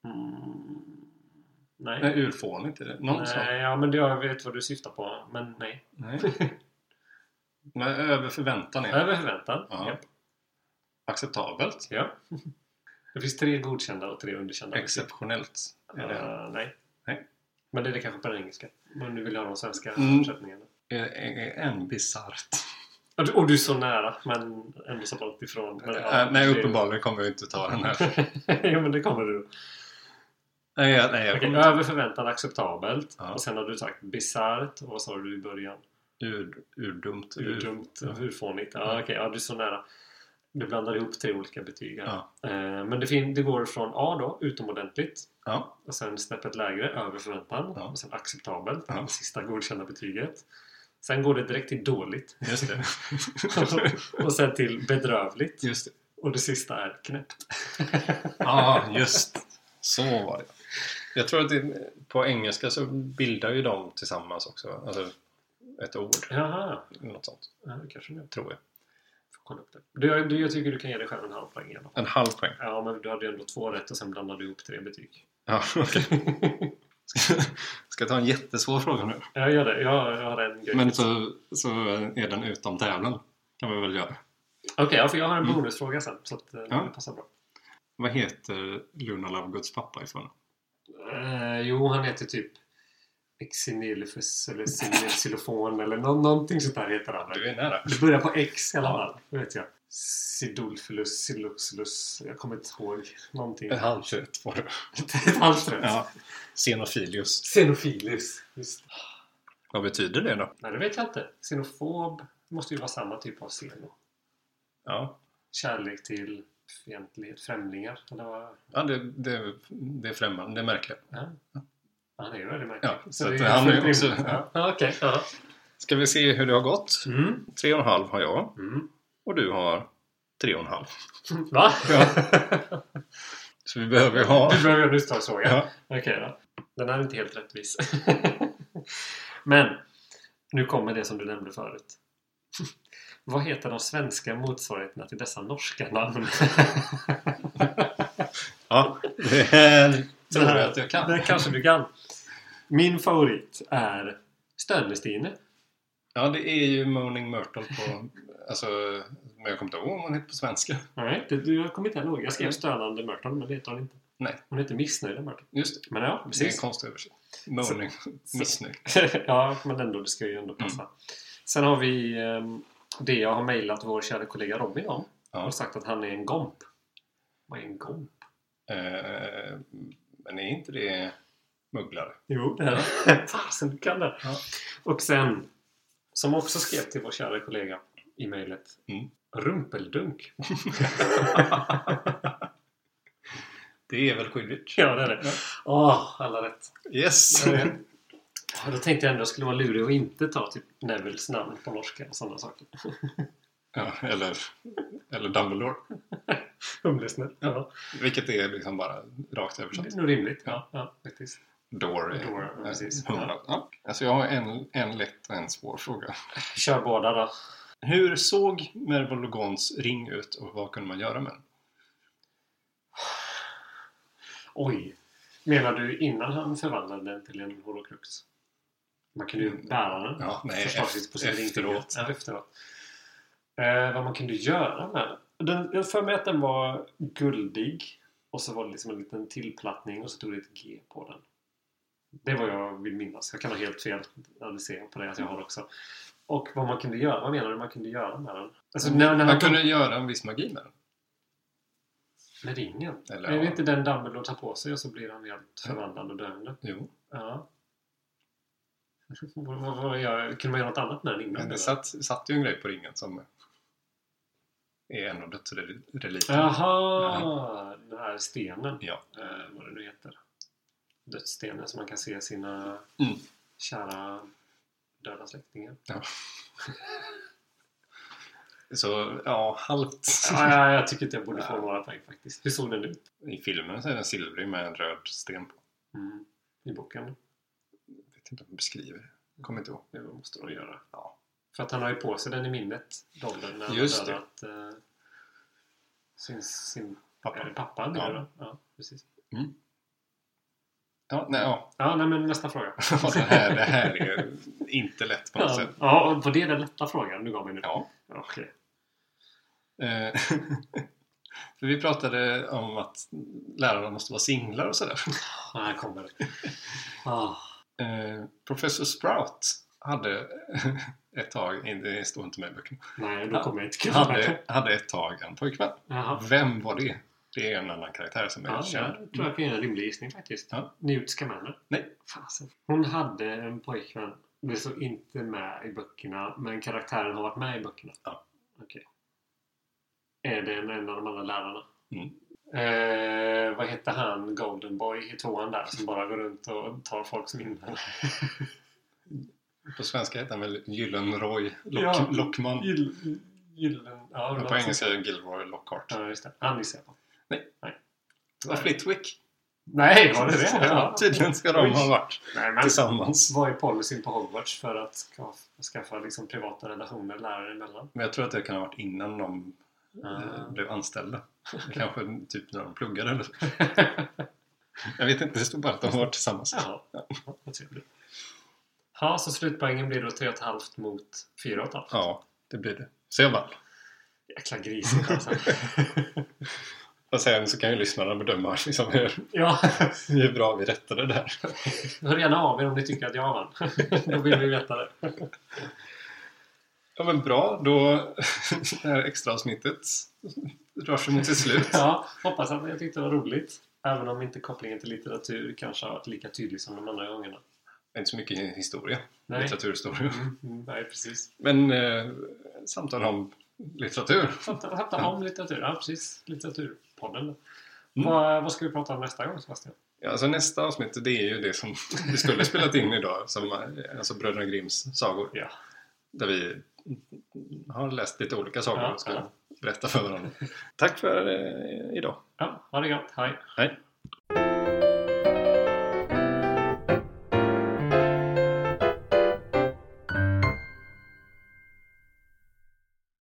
Mm. Nej.
Nej, urfånigt är det. Någon sån.
Nej, ja, men det- jag vet vad du syftar på. Men nej.
Nej. *laughs* Men över förväntan är det.
Över förväntan.
Ja.
Japp.
acceptabelt.
Ja. *laughs* Det finns tre godkända och tre underkända.
Exceptionellt. Är det,
Eh, nej.
Nej.
Men det är det kanske på den engelska. Men du vill ha de svenska
Mm.
översättningarna.
är, är en bisarrt.
Och du, och du är så nära, men ändå så långt ifrån. Men, ja,
Äh, nej,
det-
uppenbarligen kommer jag inte ta den här.
*laughs* jo, men det kommer du.
nej, jag, nej, jag
Okej,
kommer
över förväntan acceptabelt.
Ja.
Och sen har du sagt bisarrt. Och vad sa du i början?
ur, urdumt.
Hur dumt,
Ja.
hur fånigt. Ja,
Ja.
okej, ja, du är så nära. Du blandar ihop tre olika betyg här.
Ja.
Eh, Men det, fin- det går från A då, utomordentligt.
Ja.
Och sen snäppet lägre, över förväntan.
Ja.
Och sen acceptabelt,
Ja.
det sista godkända betyget. Sen går det direkt till
*laughs*
dåligt.
Just det.
och sen till bedrövligt.
Just det.
Och det sista är knäppt.
Ja, just Så var det. Jag tror att det, på engelska så bildar ju de tillsammans också. Alltså ett ord.
Jaha,
Något sånt.
ja, det kanske jag
Tror jag.
får kolla upp det. Du, du, jag tycker du kan ge dig själv en halv poäng i alla fall.
En halv poäng.
Ja, men du hade ju ändå två rätt och sen blandade du ihop tre
*laughs*
betyg.
Ja, okej. Ska jag ta en jättesvår fråga nu?
Jag gör det. Jag, jag har en grej.
Men så, så är den utom tävlan. Kan vi väl göra.
Okej, ja, för jag har en bonusfråga sen. Så att, eh,
Mm. Ja.
det passar bra.
Vad heter Luna Lovegoods pappa ifrån?
Eh, jo, han heter typ Exinilfus eller Xenilxylofon eller nå- någonting sånt där heter han.
är nära.
Det Alltså, börjar på X i alla fall. Det vet jag. Sidulfilus, Siluxilus. Jag kommer inte ihåg någonting.
Ett halvt rätt får du.
*laughs* Ett halvt rätt.
Ja. Xenofilius.
Xenofilus. Just.
Vad betyder det då?
Nej, det vet jag inte. Xenofob måste ju vara samma typ av xeno.
Ja,
Kärlek till fientlighet, främlingar. Eller vad?
ja det, det, det är främmande. Det är märkligt.
Ja. Ja, han är ju väldigt märklig.
Ja, så
det
att han är
fullt
också-
rimligt. Ja, ja, okej. Ja.
Ska vi se hur det har gått?
Mm.
Tre och en halv har jag
Mm.
och du har tre och en halv.
Va?
Så vi behöver ju
*laughs*
ha...
Du behöver göra en utslagsfråga.
Ja.
Okej då. Den här är inte helt rättvis. *laughs* Men nu kommer det som du nämnde förut. *laughs* Vad heter de svenska motsvarigheterna till dessa norska *laughs* namn?
ja, det här tror
Det här-
jag att jag kan.
Det kanske du kan. Min favorit är Stönestine.
Ja, det är ju Moaning Myrtle på... Alltså, men jag kommer inte ihåg vad hon heter på svenska.
Nej, det, du, jag kommer inte ihåg. Jag skrev Stönande Mörton, men det heter hon inte.
Mm. Nej.
Hon heter Missnöjda Mörton.
Just det.
Men ja,
Det är en
precis.
konstig översättning. Moaning. Missnöjd.
*laughs* ja, men ändå, det ska ju ändå passa.
Mm.
Sen har vi ehm, det jag har mejlat vår kära kollega Robin om. Han har
Ja.
sagt att han är en gomp. Vad är en gomp?
Eh, Men är inte det mugglare?
Jo, det här. *laughs* Fasen, du kan det.
Ja.
Och sen, som också skrev till vår kära kollega i mejlet.
Mm.
Rumpeldunk.
Det är väl Quidditch?
Ja, det är det.
Ja.
Åh, Ah, alla rätt. *laughs*
Yes!
Ja, ja. Ja, Då tänkte jag ändå att jag skulle vara lurig och inte ta typ Nevilles namn på norska och sådana saker.
Ja, eller, eller Dumbledore.
Humlesnäll. Ja.
Vilket är liksom bara rakt
Det
översatt.
är nog rimligt. Ja, ja faktiskt.
Door. är-
Door, ja, precis.
Hundra. Ja. Alltså jag har en, en lätt och en svår fråga.
Kör båda då.
Hur såg Mervologons ring ut och vad kunde man göra med den?
Oj. Menar du innan han förvandlade den till en horocrux? Man kunde ju bära den
Ja, nej,
förslagsvis på sin
Eh, efter-
efteråt. Ja, efteråt. Eh, vad man kunde göra med den. den. Jag för mig att den var guldig och så var det liksom en liten tillplattning och så stod det ett G på den. Det var jag vill minnas. Jag kan ha helt fel. Ja, det ser jag på det att jag har också. Och vad man kunde göra. Vad menar du man kunde göra med den? Alltså, när, när
Man
han
kunde göra en viss magi med den.
Med ringen?
Eller,
är det
ja.
inte den Dumbledore tar på sig och så blir han helt förvandlad och döende?
Jo,
Ja. *laughs* Vad, vad, vad gör, kunde man göra något annat med den innan?
men det
eller?
satt, satt ju en grej på ringen som är en av dödsreliterna.
Jaha! Den här stenen.
Ja.
Eh, vad det nu heter. Dödsstenen som man kan se sina
Mm.
kära döda
*laughs*
släktingar.
Så ja,
*laughs*
halvt.
Ah, ja, jag tycker inte jag borde få
Ja.
några poäng faktiskt. Hur såg den ut?
I filmen så är den silvrig med en röd sten på.
Mm. I boken?
Jag vet inte om de beskriver det. Kommer inte ihåg.
Det måste de göra.
Ja.
För att han har ju på sig den i minnet, dollarn, när han
Just
har
det.
dödat eh, sin, sin
Pappa.
Är det pappa nu
Ja.
då? Ja, precis.
Ja, nej, ja. *laughs*
Ja, nej, men nästa fråga.
Och Det, här, det här är inte lätt på något
ja,
sätt.
ja, och var det den lätta frågan du gav mig nu?
Ja.
Okej.
Eh, *laughs* För vi pratade om att lärarna måste vara singlar och sådär.
Ja, här kommer
*laughs*
det. Ah,
Eh, Professor Sprout hade *laughs* ett tag, nej, det står inte med i böckerna,
nej, då
Ja.
kommer jag inte kunna.
hade, hade ett tag en pojkvän.
Jaha.
Vem var det? Det är en annan karaktär som är
Ja, jag
känd.
tror jag kan göra en rimlig gissning faktiskt.
Ja.
Newt Scamander.
Nej.
Fasen. Hon hade en pojkvän. Det står inte med i böckerna, men karaktären har varit med i böckerna.
Ja.
Okej. Är det en, en av de andra lärarna?
Mm.
Eh, vad heter han, Golden Boy i tvåan där, som bara går runt och tar folk som innan?
På svenska heter han väl Gyllenroy Lock,
Ja. *laughs*
Lockman.
Gyllen... Ja, något
Men på
sånt.
engelska är det Gilroy Lockhart.
Ja, just det. Han gissar jag på.
Det var Flitwick.
Nej, var det det?
Ja, tydligen ska de ha varit
Nej, men
tillsammans.
vad är policyn på Hogwarts för att ska- skaffa liksom privata relationer lärare *laughs* emellan?
Men jag tror att det kan ha varit innan de eh,
Ah. *laughs*
blev anställda. Kanske typ när de pluggade eller så. Jag vet inte, det stod bara att de var tillsammans.
Jaha, ja, vad trevligt. Ja, så slutpoängen blir då 3,5 mot 4,5.
Ja, det blir det. Så jag vann.
Jäkla grisigt *laughs* alltså.
Och sen så kan ju lyssnarna bedöma liksom hur,
ja,
hur bra vi rättade det här.
hör gärna av er om ni tycker att jag vann. *laughs* då vill vi veta det.
Ja men bra, då *laughs* det här extra avsnittet rör sig mot sitt slut.
Ja, hoppas att ni tyckte det var roligt. Även om inte kopplingen till litteratur kanske har varit lika tydlig som de andra gångerna.
Det är inte så mycket historia,
Nej,
litteraturhistoria.
mm, mm, nej precis.
Men eh, samtal om litteratur.
Prata prata om litteratur. Ja, precis. Litteraturpodden.
Mm.
Vad, vad ska vi prata om nästa gång, Sebastian?
Ja, alltså nästa avsnitt, det är ju det som vi skulle spelat in idag. Som, eh, alltså Bröderna Grimms sagor.
Ja.
Där vi har läst lite olika sagor
Ja,
och ska
ja.
berätta för varandra. Tack för eh, idag.
Ja, ha det gott. Hej!
Hej.